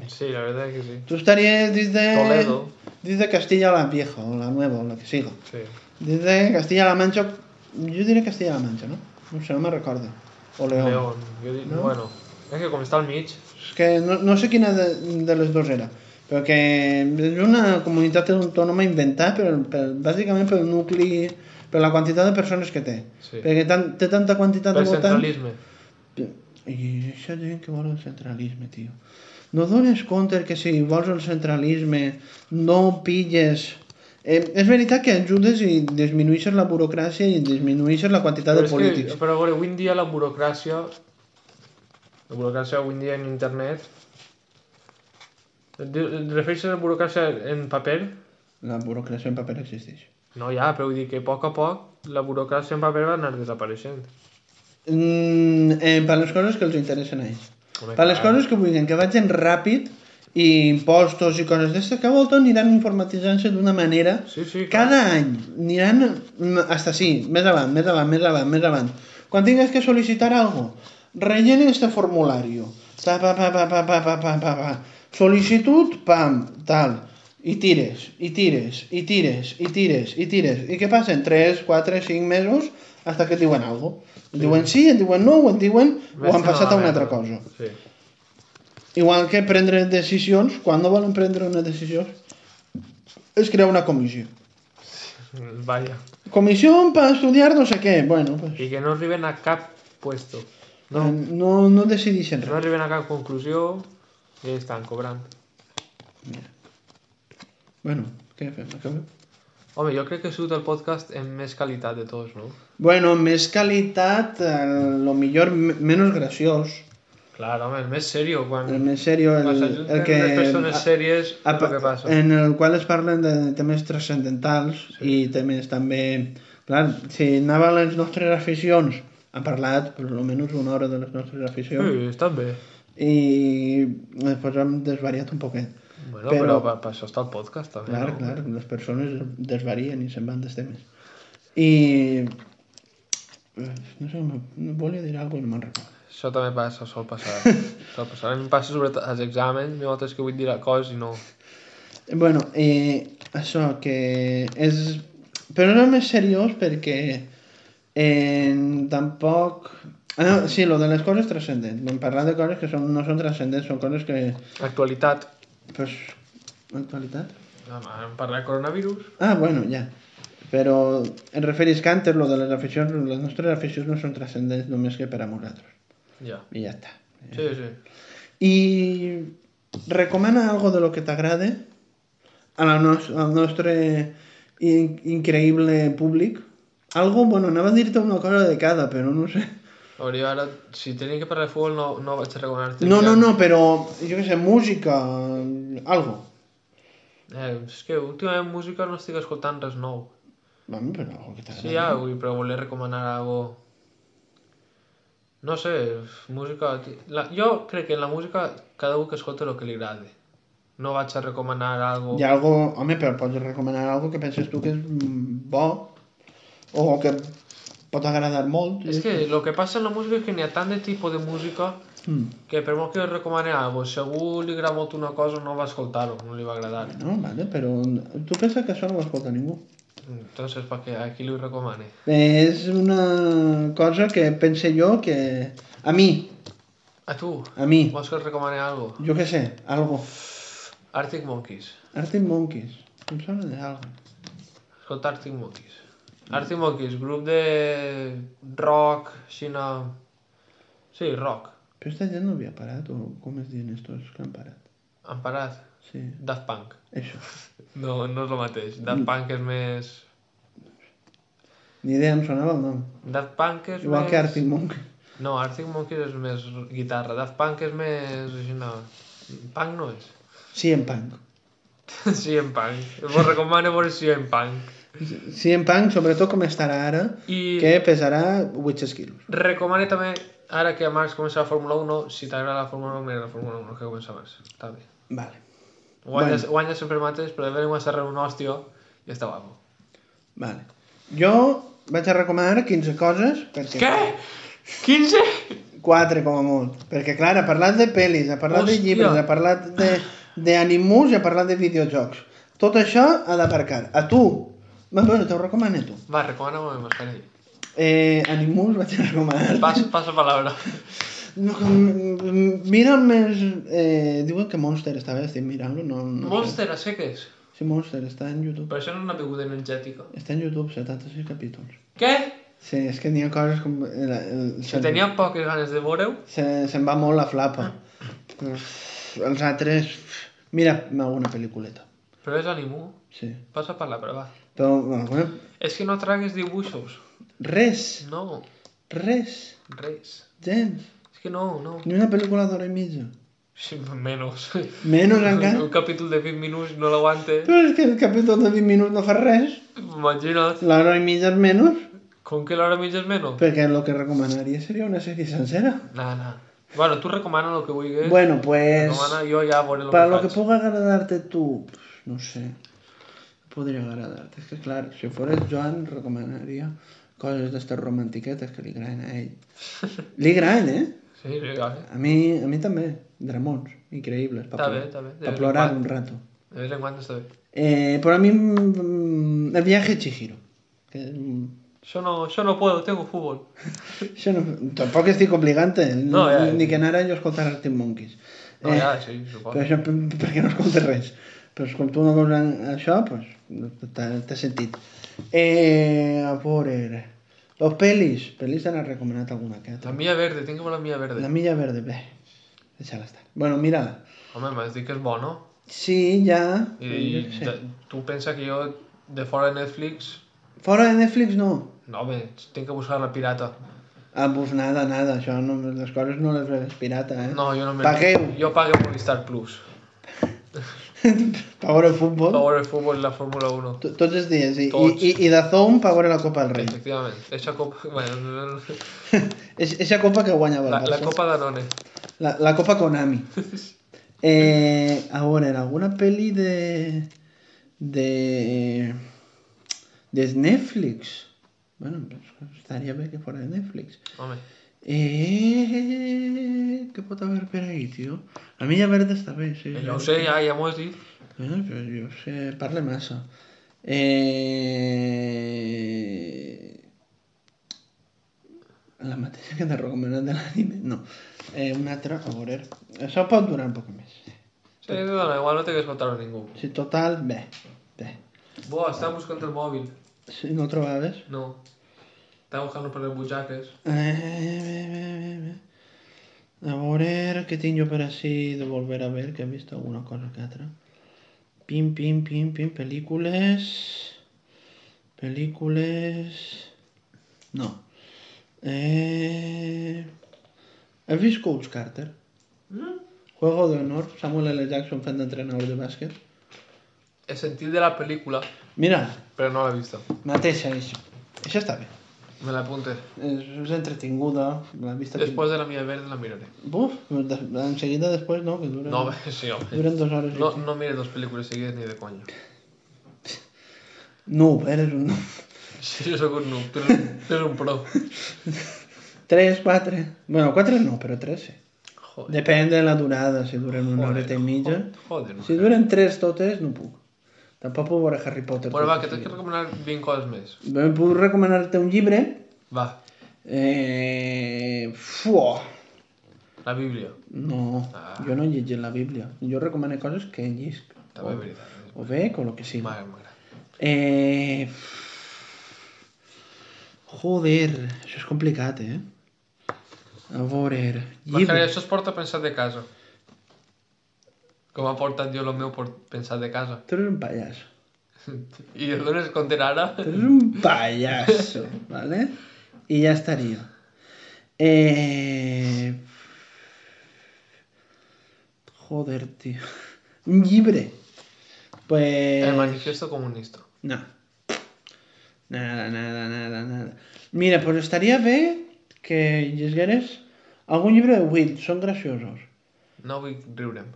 [SPEAKER 2] Sí, la veritat és que sí.
[SPEAKER 1] Tú estarías desde...
[SPEAKER 2] Toledo.
[SPEAKER 1] Desde Castilla la Vieja, o la Nueva, o la que siga.
[SPEAKER 2] Sí.
[SPEAKER 1] Desde Castilla la Mancha... Yo diré Castilla la Mancha, ¿no? No sé, no me recuerdo. O León.
[SPEAKER 2] León. Jo dic,
[SPEAKER 1] No?
[SPEAKER 2] bueno, és que com està al mig,
[SPEAKER 1] És que no, no sé quina de, de les dues era. Però que és una comunitat autònoma inventada per, per, bàsicament pel nucli... per la quantitat de persones que té.
[SPEAKER 2] Sí.
[SPEAKER 1] Perquè tan, té tanta quantitat
[SPEAKER 2] per
[SPEAKER 1] de votants...
[SPEAKER 2] centralisme.
[SPEAKER 1] I això gent que vol el centralisme, tio. No dones compte que si vols el centralisme no pilles... Eh, és veritat que ajudes i disminueixes la burocràcia i disminueixes la quantitat de
[SPEAKER 2] és
[SPEAKER 1] polítics.
[SPEAKER 2] Que, però a veure, avui en dia la burocràcia... La burocràcia avui en dia en internet... Et di- et refereixes a la burocràcia en paper?
[SPEAKER 1] La burocràcia en paper existeix.
[SPEAKER 2] No, ja, però vull dir que a poc a poc la burocràcia en paper va anar desapareixent.
[SPEAKER 1] Mm, eh, per les coses que els interessen a ells.
[SPEAKER 2] Home,
[SPEAKER 1] Per les
[SPEAKER 2] clar.
[SPEAKER 1] coses que vulguin, que vagin ràpid i impostos i coses d'aquestes que vol tot aniran informatitzant-se d'una manera
[SPEAKER 2] Sí, sí, clar.
[SPEAKER 1] Cada any aniran mm, hasta sí, més avant, més avant, més avant, més avant. Quan tingues que solicitar algo, rellena este formulario. Ta, pa, pa, pa, pa, pa, pa, pa, pa, pa. Sol·licitud, pam, tal. I tires, i tires, i tires, i tires, i tires. I què passa? En 3, 4, 5 mesos, hasta que et diuen alguna cosa. Et diuen sí, et diuen no, o et diuen
[SPEAKER 2] Més
[SPEAKER 1] o han
[SPEAKER 2] que
[SPEAKER 1] passat a una
[SPEAKER 2] malament.
[SPEAKER 1] altra cosa.
[SPEAKER 2] Sí.
[SPEAKER 1] Igual que prendre decisions, quan no volen prendre una decisió, es crea una comissió.
[SPEAKER 2] Vaja.
[SPEAKER 1] Comisión para estudiar no sé qué. Bueno, pues
[SPEAKER 2] I que no arriben a cap puesto.
[SPEAKER 1] no, no, no decidís en
[SPEAKER 2] No
[SPEAKER 1] res.
[SPEAKER 2] arriben a cap conclusió i estan cobrant.
[SPEAKER 1] Bueno, què fem? Acabem?
[SPEAKER 2] Home, jo crec que ha sigut el podcast amb més qualitat de tots, no?
[SPEAKER 1] Bueno, més qualitat, eh, lo millor, me- menys graciós,
[SPEAKER 2] Clar, home, el més serio, quan...
[SPEAKER 1] el més serio, el, el que...
[SPEAKER 2] les persones
[SPEAKER 1] a-
[SPEAKER 2] sèries
[SPEAKER 1] a-
[SPEAKER 2] és el que passa.
[SPEAKER 1] en el qual es parlen de temes transcendentals i temes també... Clar, si anava a les nostres aficions, han parlat per almenys una hora de les nostres aficions
[SPEAKER 2] Sí, està bé.
[SPEAKER 1] i després hem desvariat un poquet.
[SPEAKER 2] Bueno,
[SPEAKER 1] Però-
[SPEAKER 2] però, però per, per això està el podcast, també.
[SPEAKER 1] Clar,
[SPEAKER 2] no?
[SPEAKER 1] clar, les persones desvarien i se'n van este dels temes. I... No sé, me- no volia dir alguna cosa i no me'n recordo.
[SPEAKER 2] Això també passa, sol
[SPEAKER 1] <laughs>
[SPEAKER 2] passar. sol passar. A mi em passa sobre t- els exàmens, hi ha vegades que vull dir coses i no...
[SPEAKER 1] Bueno, eh, això que és... Però no més seriós perquè eh, tampoc... Ah, no, sí, lo de les coses transcendents. Vam parlar de coses que són, no són transcendents, són coses que...
[SPEAKER 2] Actualitat.
[SPEAKER 1] Pues, actualitat?
[SPEAKER 2] Vam parlar de coronavirus.
[SPEAKER 1] Ah, bueno, ja. Però em referís que antes lo de les aficions, les nostres aficions no són transcendents només que per a nosaltres.
[SPEAKER 2] Ja.
[SPEAKER 1] I ja està.
[SPEAKER 2] Sí, sí.
[SPEAKER 1] I recomana algo de lo que t'agrade a la nos al nostre in increïble públic. Algo, bueno, anava a dir-te una cosa de cada, però no sé.
[SPEAKER 2] Hauria ara, si tenia que parlar de futbol no, no vaig recomanar-te.
[SPEAKER 1] No, no,
[SPEAKER 2] mira.
[SPEAKER 1] no, però jo què sé, música, algo.
[SPEAKER 2] Eh, és que últimament música no estic escoltant res nou.
[SPEAKER 1] Bueno, però algo que t'agrade.
[SPEAKER 2] Sí, ah, ja, vull, però voler recomanar algo... No sé, música... La... Jo crec que en la música cada un que escolta el que li agrada. No vaig a recomanar algo...
[SPEAKER 1] Hi ha algo, home, però pots recomanar algo que penses tu que és mm, bo o que pot agradar molt.
[SPEAKER 2] És que el que passa en la música és que n'hi ha tant de tipus de música
[SPEAKER 1] Mm.
[SPEAKER 2] que per molt que recomani algo, si a algú li agrada molt una cosa no va escoltar-ho, no li va agradar.
[SPEAKER 1] No, vale, però tu penses que això no ho escolta ningú.
[SPEAKER 2] Entonces, per què? A qui li ho recomane?
[SPEAKER 1] És una cosa que pense jo que... A mi,
[SPEAKER 2] A tu?
[SPEAKER 1] a mi,
[SPEAKER 2] Vols que et recomani algo?
[SPEAKER 1] jo què sé, algo.
[SPEAKER 2] Arctic Monkeys.
[SPEAKER 1] Arctic Monkeys, em sona de algo.
[SPEAKER 2] Escolta Arctic Monkeys. Arctic Monkeys, grup de rock, xina... Sí, rock.
[SPEAKER 1] Però esta gent no havia parat, o com es diuen estos que han parat?
[SPEAKER 2] Han parat.
[SPEAKER 1] Sí,
[SPEAKER 2] Daft Punk. Mm.
[SPEAKER 1] això.
[SPEAKER 2] No, no és el mateix. Daft Punk és més...
[SPEAKER 1] Ni idea, em sonava el nom.
[SPEAKER 2] Daft Punk és
[SPEAKER 1] Igual
[SPEAKER 2] més...
[SPEAKER 1] que Arctic Monkeys.
[SPEAKER 2] No, Arctic Monkeys és més guitarra. Daft Punk és més... Xina... Punk no és. <laughs>
[SPEAKER 1] Sí, en punk.
[SPEAKER 2] sí, en punk. Vos recomano veure sí, en punk.
[SPEAKER 1] Sí, en punk, sobretot com estarà ara,
[SPEAKER 2] I
[SPEAKER 1] que pesarà 800 quilos.
[SPEAKER 2] recomano també, ara que a març comença la Fórmula 1, si t'agrada la Fórmula 1, mira la Fórmula 1, que comença a març. Està bé.
[SPEAKER 1] Vale,
[SPEAKER 2] Guanyes, bueno. guanyes sempre el mateix, però de venir a ser un hòstio i està guapo.
[SPEAKER 1] vale. Jo vaig a recomanar 15 coses, perquè...
[SPEAKER 2] Què? 15?
[SPEAKER 1] 4 com a molt. Perquè, clar, ha parlat de pel·lis, ha parlat Hòstia. de
[SPEAKER 2] Hòstia.
[SPEAKER 1] llibres, ha parlat de- d'animus i ha parlat de videojocs. Tot això ha d'aparcar. A tu, va, bueno, te'ho recomano a tu.
[SPEAKER 2] Va, recomana-me més per ell.
[SPEAKER 1] Eh, animus vaig a recomanar.
[SPEAKER 2] Passo, passo paraula.
[SPEAKER 1] No, com- mira més... Eh, diuen que Monster està bé, estic mirant-lo. No, no
[SPEAKER 2] Monster, a seques.
[SPEAKER 1] Sé. Sí, Monster, està en YouTube.
[SPEAKER 2] Però això no és una beguda energètica.
[SPEAKER 1] Està en YouTube, 76 capítols.
[SPEAKER 2] Què?
[SPEAKER 1] Sí, és que n'hi ha coses com... El, el,
[SPEAKER 2] Si tenia poques ganes de veure-ho,
[SPEAKER 1] se, se'n va molt la flapa.
[SPEAKER 2] Ah.
[SPEAKER 1] Els altres... Mira, alguna pel·lículeta.
[SPEAKER 2] però és animu.
[SPEAKER 1] Sí.
[SPEAKER 2] Passa per la prova.
[SPEAKER 1] Però, bueno,
[SPEAKER 2] És que no tragues dibuixos.
[SPEAKER 1] res,
[SPEAKER 2] No,
[SPEAKER 1] res,
[SPEAKER 2] res.
[SPEAKER 1] gens.
[SPEAKER 2] És que no, no.
[SPEAKER 1] Ni una pel·lícula d'hora i mitja.
[SPEAKER 2] Sí, Menos.
[SPEAKER 1] Menys
[SPEAKER 2] Un,
[SPEAKER 1] encara.
[SPEAKER 2] un capítol de 20 minuts no l'aguante.
[SPEAKER 1] Però és que el capítol de 20 minuts no fa res.
[SPEAKER 2] Imagina't.
[SPEAKER 1] L'hora i mitja és menys,
[SPEAKER 2] Com que l'hora mitja és menys?
[SPEAKER 1] perquè el que recomanaria seria una sèrie sencera.
[SPEAKER 2] No, no. Bueno, tu recomana el que ¿eh? vulguis.
[SPEAKER 1] Bueno, pues...
[SPEAKER 2] Recomana, jo ja veuré el
[SPEAKER 1] Per lo
[SPEAKER 2] que
[SPEAKER 1] que
[SPEAKER 2] faig.
[SPEAKER 1] puga agradar-te tu, pues, no sé, podria agradar-te. És que, clar, si fores Joan, recomanaria coses d'estes romantiquetes este que li agraden a <laughs> ell. Li agraden, eh?
[SPEAKER 2] Sí, sí, vale.
[SPEAKER 1] A mi, a mi també. Dramons, increïbles.
[SPEAKER 2] Està bé, està bé.
[SPEAKER 1] Per
[SPEAKER 2] De vez en
[SPEAKER 1] plorar
[SPEAKER 2] quan.
[SPEAKER 1] un rato.
[SPEAKER 2] De vez en quan està bé.
[SPEAKER 1] Eh, però a mi, mm, el viaje a Chihiro. Que, mm, <laughs>
[SPEAKER 2] Yo no, yo no puedo, tengo fútbol.
[SPEAKER 1] això no, tampoc estic obligant-te, no,
[SPEAKER 2] No, ja, ja.
[SPEAKER 1] ni que anara jo a escoltar Arctic Monkeys.
[SPEAKER 2] No,
[SPEAKER 1] Eh.
[SPEAKER 2] ja, sí, suposo.
[SPEAKER 1] Per això, per, <laughs> perquè no escoltes res. Però com tu no veus en- això, doncs, pues, t'has sentit. Eh, a veure... Los pelis. Pelis te n'has recomanat alguna que
[SPEAKER 2] La
[SPEAKER 1] altra.
[SPEAKER 2] milla verde, tengo la milla verde.
[SPEAKER 1] La milla verde, bé. Deixa-la estar. Bueno, mira-la.
[SPEAKER 2] Home, m'has dit que és bo, no?
[SPEAKER 1] Sí, ja...
[SPEAKER 2] I, i
[SPEAKER 1] Sí.
[SPEAKER 2] de- tu pensa que jo, de fora de Netflix...
[SPEAKER 1] Fora de Netflix, no.
[SPEAKER 2] No, home, tinc que buscar la pirata.
[SPEAKER 1] Ah, pues nada, nada. Això no, les coses no les veus pirata, eh?
[SPEAKER 2] No, jo no me...
[SPEAKER 1] Pagueu.
[SPEAKER 2] Jo pagueu Movistar Plus.
[SPEAKER 1] Pa veure el futbol.
[SPEAKER 2] Per veure el futbol i la Fórmula 1.
[SPEAKER 1] to- Tots els dies. I,
[SPEAKER 2] Tots.
[SPEAKER 1] i, i, i de Zone pa veure la Copa del Rei.
[SPEAKER 2] Efectivament. Eixa copa... <laughs> Bueno, no, no, no.
[SPEAKER 1] <laughs> És, eixa copa que guanyava el
[SPEAKER 2] la, la
[SPEAKER 1] Barça.
[SPEAKER 2] copa Danone.
[SPEAKER 1] La, la Copa
[SPEAKER 2] <laughs>
[SPEAKER 1] Konami. Eh, ahora, en alguna peli de. de. de Netflix. Bueno, pues, estaría bien que fuera de Netflix.
[SPEAKER 2] Home,
[SPEAKER 1] Eh, ¿Qué puedo haber por ahí, tío? A mí ya verde esta vez, sí.
[SPEAKER 2] jo ho Eh, sé, ja, ja m'ho has dit.
[SPEAKER 1] Bueno, pero yo sé, parle masa. Eh... La mateixa eh. que t'ha recomanat de l'anime, no. Eh, una altra, a veure. Això pot durar un poc més.
[SPEAKER 2] Sí, dona igual, no té que escoltar ningú.
[SPEAKER 1] Si total, bé. bé.
[SPEAKER 2] Buah, estava buscant el mòbil.
[SPEAKER 1] Si no trobaves...
[SPEAKER 2] No. Estava buscant per les butxaques.
[SPEAKER 1] Eh, bé, bé, bé, bé. A veure què tinc jo per així de volver a ver, que he vist alguna cosa que altra. Pim, pim, pim, pim, pel·lícules... Pel·lícules... No. Eh... He vist Coach Carter.
[SPEAKER 2] Mm.
[SPEAKER 1] Juego de honor, Samuel L. Jackson fent d'entrenador de bàsquet.
[SPEAKER 2] El sentit de la pel·lícula,
[SPEAKER 1] Mira,
[SPEAKER 2] però no l'he vista.
[SPEAKER 1] mateixa, això. Això està bé.
[SPEAKER 2] Me l'apunte.
[SPEAKER 1] És, és entretinguda, la vista...
[SPEAKER 2] Després de la mia verda la miraré.
[SPEAKER 1] Buf, de- en seguida després no, que dura...
[SPEAKER 2] No, <laughs> sí, home.
[SPEAKER 1] Duren dos hores.
[SPEAKER 2] No,
[SPEAKER 1] No,
[SPEAKER 2] no mire dos pel·lícules seguides ni de <laughs> conya.
[SPEAKER 1] no <laughs> eres un...
[SPEAKER 2] Si jo sóc un noob, tu eres, tu eres un pro.
[SPEAKER 1] Tres, quatre... Bueno, quatre no, però tres sí.
[SPEAKER 2] Joder.
[SPEAKER 1] Depèn de la durada, si duren una
[SPEAKER 2] joder,
[SPEAKER 1] horeta i mitja.
[SPEAKER 2] Joder, no.
[SPEAKER 1] Si duren tres totes, no puc. Tampoc puc veure Harry Potter.
[SPEAKER 2] Bueno,
[SPEAKER 1] tot
[SPEAKER 2] va, que t'he
[SPEAKER 1] seguit.
[SPEAKER 2] de recomanar 20 coses més.
[SPEAKER 1] Bé, puc recomanar-te un llibre.
[SPEAKER 2] Va,
[SPEAKER 1] Eh... Fuà.
[SPEAKER 2] la Bíblia.
[SPEAKER 1] No,
[SPEAKER 2] Ah.
[SPEAKER 1] jo no he llegit la Bíblia. Jo recomano coses que llisc.
[SPEAKER 2] També és veritat.
[SPEAKER 1] O bé, o lo que sigui.
[SPEAKER 2] M'agrada, m'agrada.
[SPEAKER 1] Eh... Joder, això és complicat, eh? A veure...
[SPEAKER 2] Perquè
[SPEAKER 1] Llibre...
[SPEAKER 2] això Pues, es porta pensat de casa. Com ha portat jo el meu por- pensat de casa. <laughs>
[SPEAKER 1] Tu eres un pallasso.
[SPEAKER 2] I et dones compte ara?
[SPEAKER 1] Tu eres un pallasso, ¿vale? I ja estaria. Eh... Joder, tio. Un llibre. Pues...
[SPEAKER 2] El manifiesto comunista.
[SPEAKER 1] No. Nada, nada, nada, nada. Mira, pues estaria bé que llegeres algun llibre de Will, són graciosos.
[SPEAKER 2] No vull riure'm.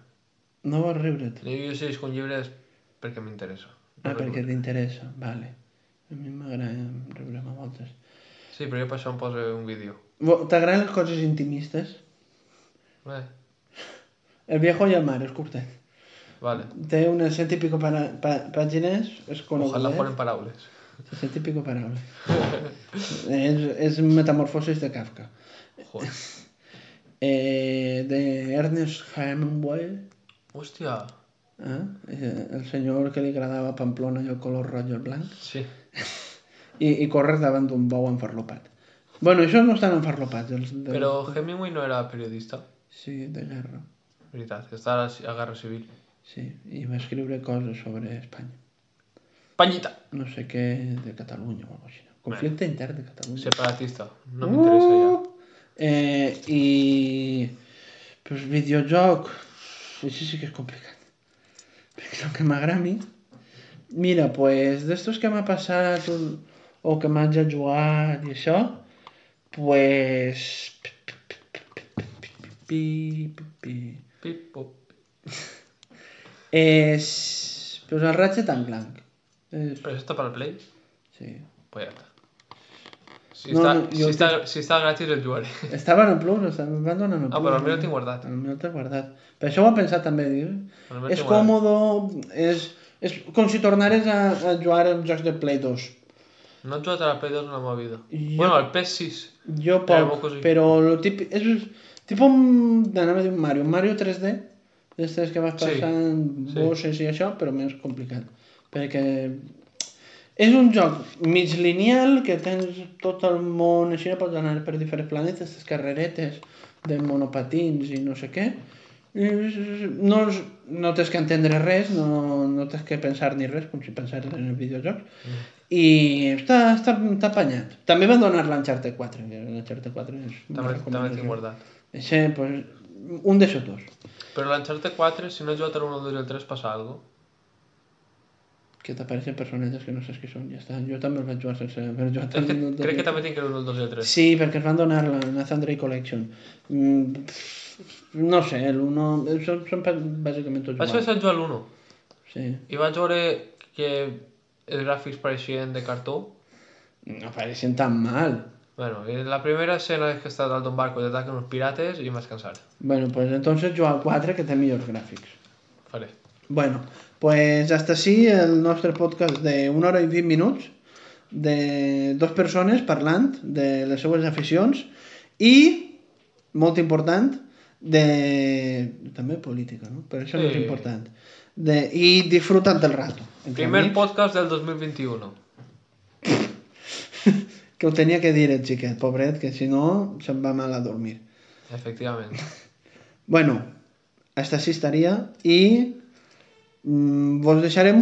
[SPEAKER 1] No vas riure't.
[SPEAKER 2] No, Jo si és un llibre és perquè m'interessa.
[SPEAKER 1] Ah, perquè t'interessa, vale. A mi m'agrada riure a voltes.
[SPEAKER 2] Sí, però jo per això em poso un vídeo.
[SPEAKER 1] Bo, T'agraden les coses intimistes?
[SPEAKER 2] Bé,
[SPEAKER 1] El viejo i el mar, és curtet.
[SPEAKER 2] vale.
[SPEAKER 1] Té unes cent i pico para, pa, pàgines, és
[SPEAKER 2] Ojalá
[SPEAKER 1] conegut.
[SPEAKER 2] fueran paraules.
[SPEAKER 1] Cent i pico paraules. <laughs> és, és metamorfosis de Kafka. <laughs>
[SPEAKER 2] Joder.
[SPEAKER 1] Eh, de Ernest Hemingway.
[SPEAKER 2] Hòstia.
[SPEAKER 1] Ah, eh, el senyor que li agradava Pamplona i el color roig i el blanc
[SPEAKER 2] Sí.
[SPEAKER 1] i, i córrer davant d'un bou enfarlopat. Bueno, això no estan enfarlopats, els de...
[SPEAKER 2] Però Hemingway no era periodista.
[SPEAKER 1] Sí, de guerra.
[SPEAKER 2] Veritat, està a la Guerra Civil.
[SPEAKER 1] Sí, i va escriure coses sobre Espanya.
[SPEAKER 2] Panyita!
[SPEAKER 1] No sé què de Catalunya o alguna cosa així. Conflicte intern de Catalunya.
[SPEAKER 2] Separatista. No m'interessa
[SPEAKER 1] Uh!
[SPEAKER 2] ja.
[SPEAKER 1] Eh, I... Pues, videojoc... Això sí que és complicat. Perquè el que m'agrada a mi... Mira, pues, d'estos que m'ha passat un... o que m'haig de jugar i això, pues... Pi, pi, pi.
[SPEAKER 2] Pip, pop.
[SPEAKER 1] És... Pues el Ratchet and Clank. És...
[SPEAKER 2] Però això està per al Play?
[SPEAKER 1] Sí.
[SPEAKER 2] Pues ja està. Si,
[SPEAKER 1] No,
[SPEAKER 2] està,
[SPEAKER 1] no,
[SPEAKER 2] si,
[SPEAKER 1] jo
[SPEAKER 2] està, si està gratis el jugaré.
[SPEAKER 1] Estava en el Plus, estava, van donant el Plus.
[SPEAKER 2] Ah, però almenys el tinc guardat.
[SPEAKER 1] El meu t'has guardat. Per això ho he ¿eh? pensat també, dir.
[SPEAKER 2] Almenys
[SPEAKER 1] és
[SPEAKER 2] el tinc guardat.
[SPEAKER 1] còmodo, és, és com si tornares a, a jugar als jocs de Play 2.
[SPEAKER 2] No he jugat a la Play 2 en la meva vida.
[SPEAKER 1] Jo-
[SPEAKER 2] Bueno, al PS6.
[SPEAKER 1] Jo
[SPEAKER 2] Però
[SPEAKER 1] poc,
[SPEAKER 2] poco sí.
[SPEAKER 1] però lo típic... És tipus un... Anava a dir un Mario, un Mario 3D, d'estes que vas
[SPEAKER 2] Sí,
[SPEAKER 1] passant
[SPEAKER 2] sí.
[SPEAKER 1] bosses i això, però més complicat. Perquè és un joc mig lineal que tens tot el món així, pots anar per diferents planetes, les carreretes de monopatins i no sé què. I és- No, és- no tens que entendre res, no, no tens que pensar ni res, com si pensares en els videojocs. I està, està, està apanyat. També van donar l'Uncharted 4, que l'Uncharted 4 és...
[SPEAKER 2] També, també tinc guardat.
[SPEAKER 1] Això, pues, un de esos dos.
[SPEAKER 2] Però l'Uncharted 4, si no he jugat a l'1, 2 i el 3, passa alguna cosa.
[SPEAKER 1] Que t'apareixen personatges que no saps qui són, ja està. Jo també els vaig jugar sense haver jugat
[SPEAKER 2] Crec,
[SPEAKER 1] al
[SPEAKER 2] que,
[SPEAKER 1] Nintendo.
[SPEAKER 2] crec que també tinc el 1, el 2 i el 3.
[SPEAKER 1] Sí, perquè es van donar la Nathan Drake Collection. Mm, pff, no sé, l'uno... Són, són bàsicament tots
[SPEAKER 2] Vaig
[SPEAKER 1] iguals.
[SPEAKER 2] pensar en jugar a l'1
[SPEAKER 1] Sí.
[SPEAKER 2] i vaig veure que els gràfics pareixien de cartó.
[SPEAKER 1] No pareixen tan mal.
[SPEAKER 2] Bueno, i la primera escena és que està dalt d'un barco i ataquen uns pirates i em vaig cansar.
[SPEAKER 1] Bueno, pues entonces jugar al 4 que té millors gràfics.
[SPEAKER 2] Faré.
[SPEAKER 1] Bueno, pues hasta así el nostre podcast de una hora i 20 minuts de dos persones parlant de les seues aficions i, molt important, de... també política, no? Però això no és
[SPEAKER 2] Sí.
[SPEAKER 1] important. De... I disfrutant del rato. entre
[SPEAKER 2] Primer
[SPEAKER 1] amics.
[SPEAKER 2] podcast del 2021.
[SPEAKER 1] que ho tenia que dir el xiquet, pobret, que si no se'n va mal a dormir.
[SPEAKER 2] Efectivament.
[SPEAKER 1] Bueno, hasta així estaria i mm, vos deixarem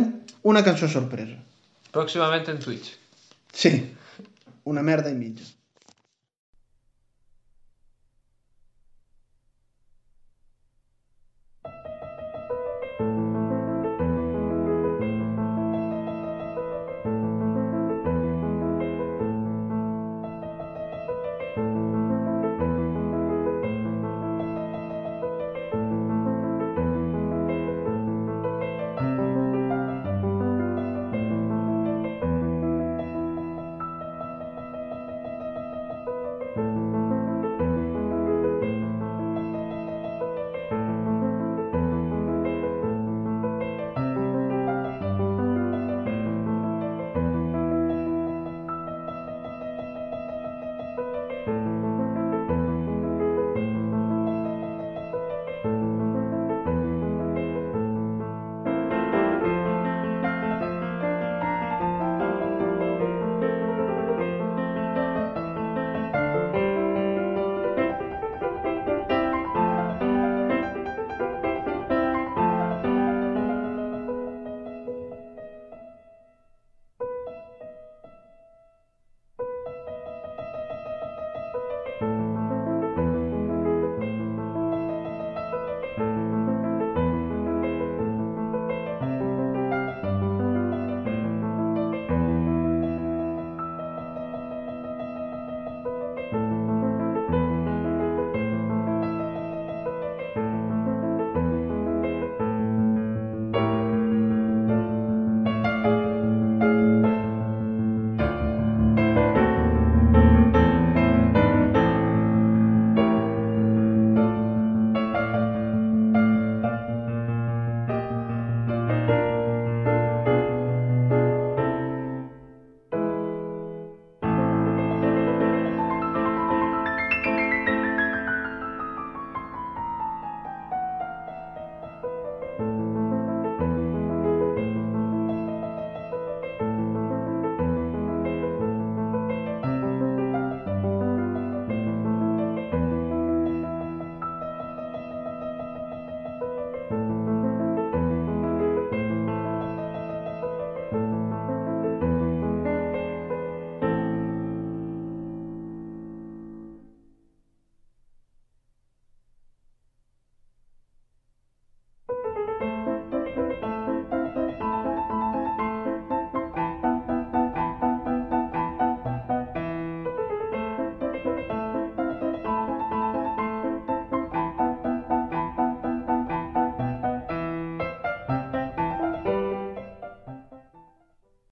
[SPEAKER 1] una cançó sorpresa.
[SPEAKER 2] Pròximament en Twitch.
[SPEAKER 1] Sí, una merda i mitja.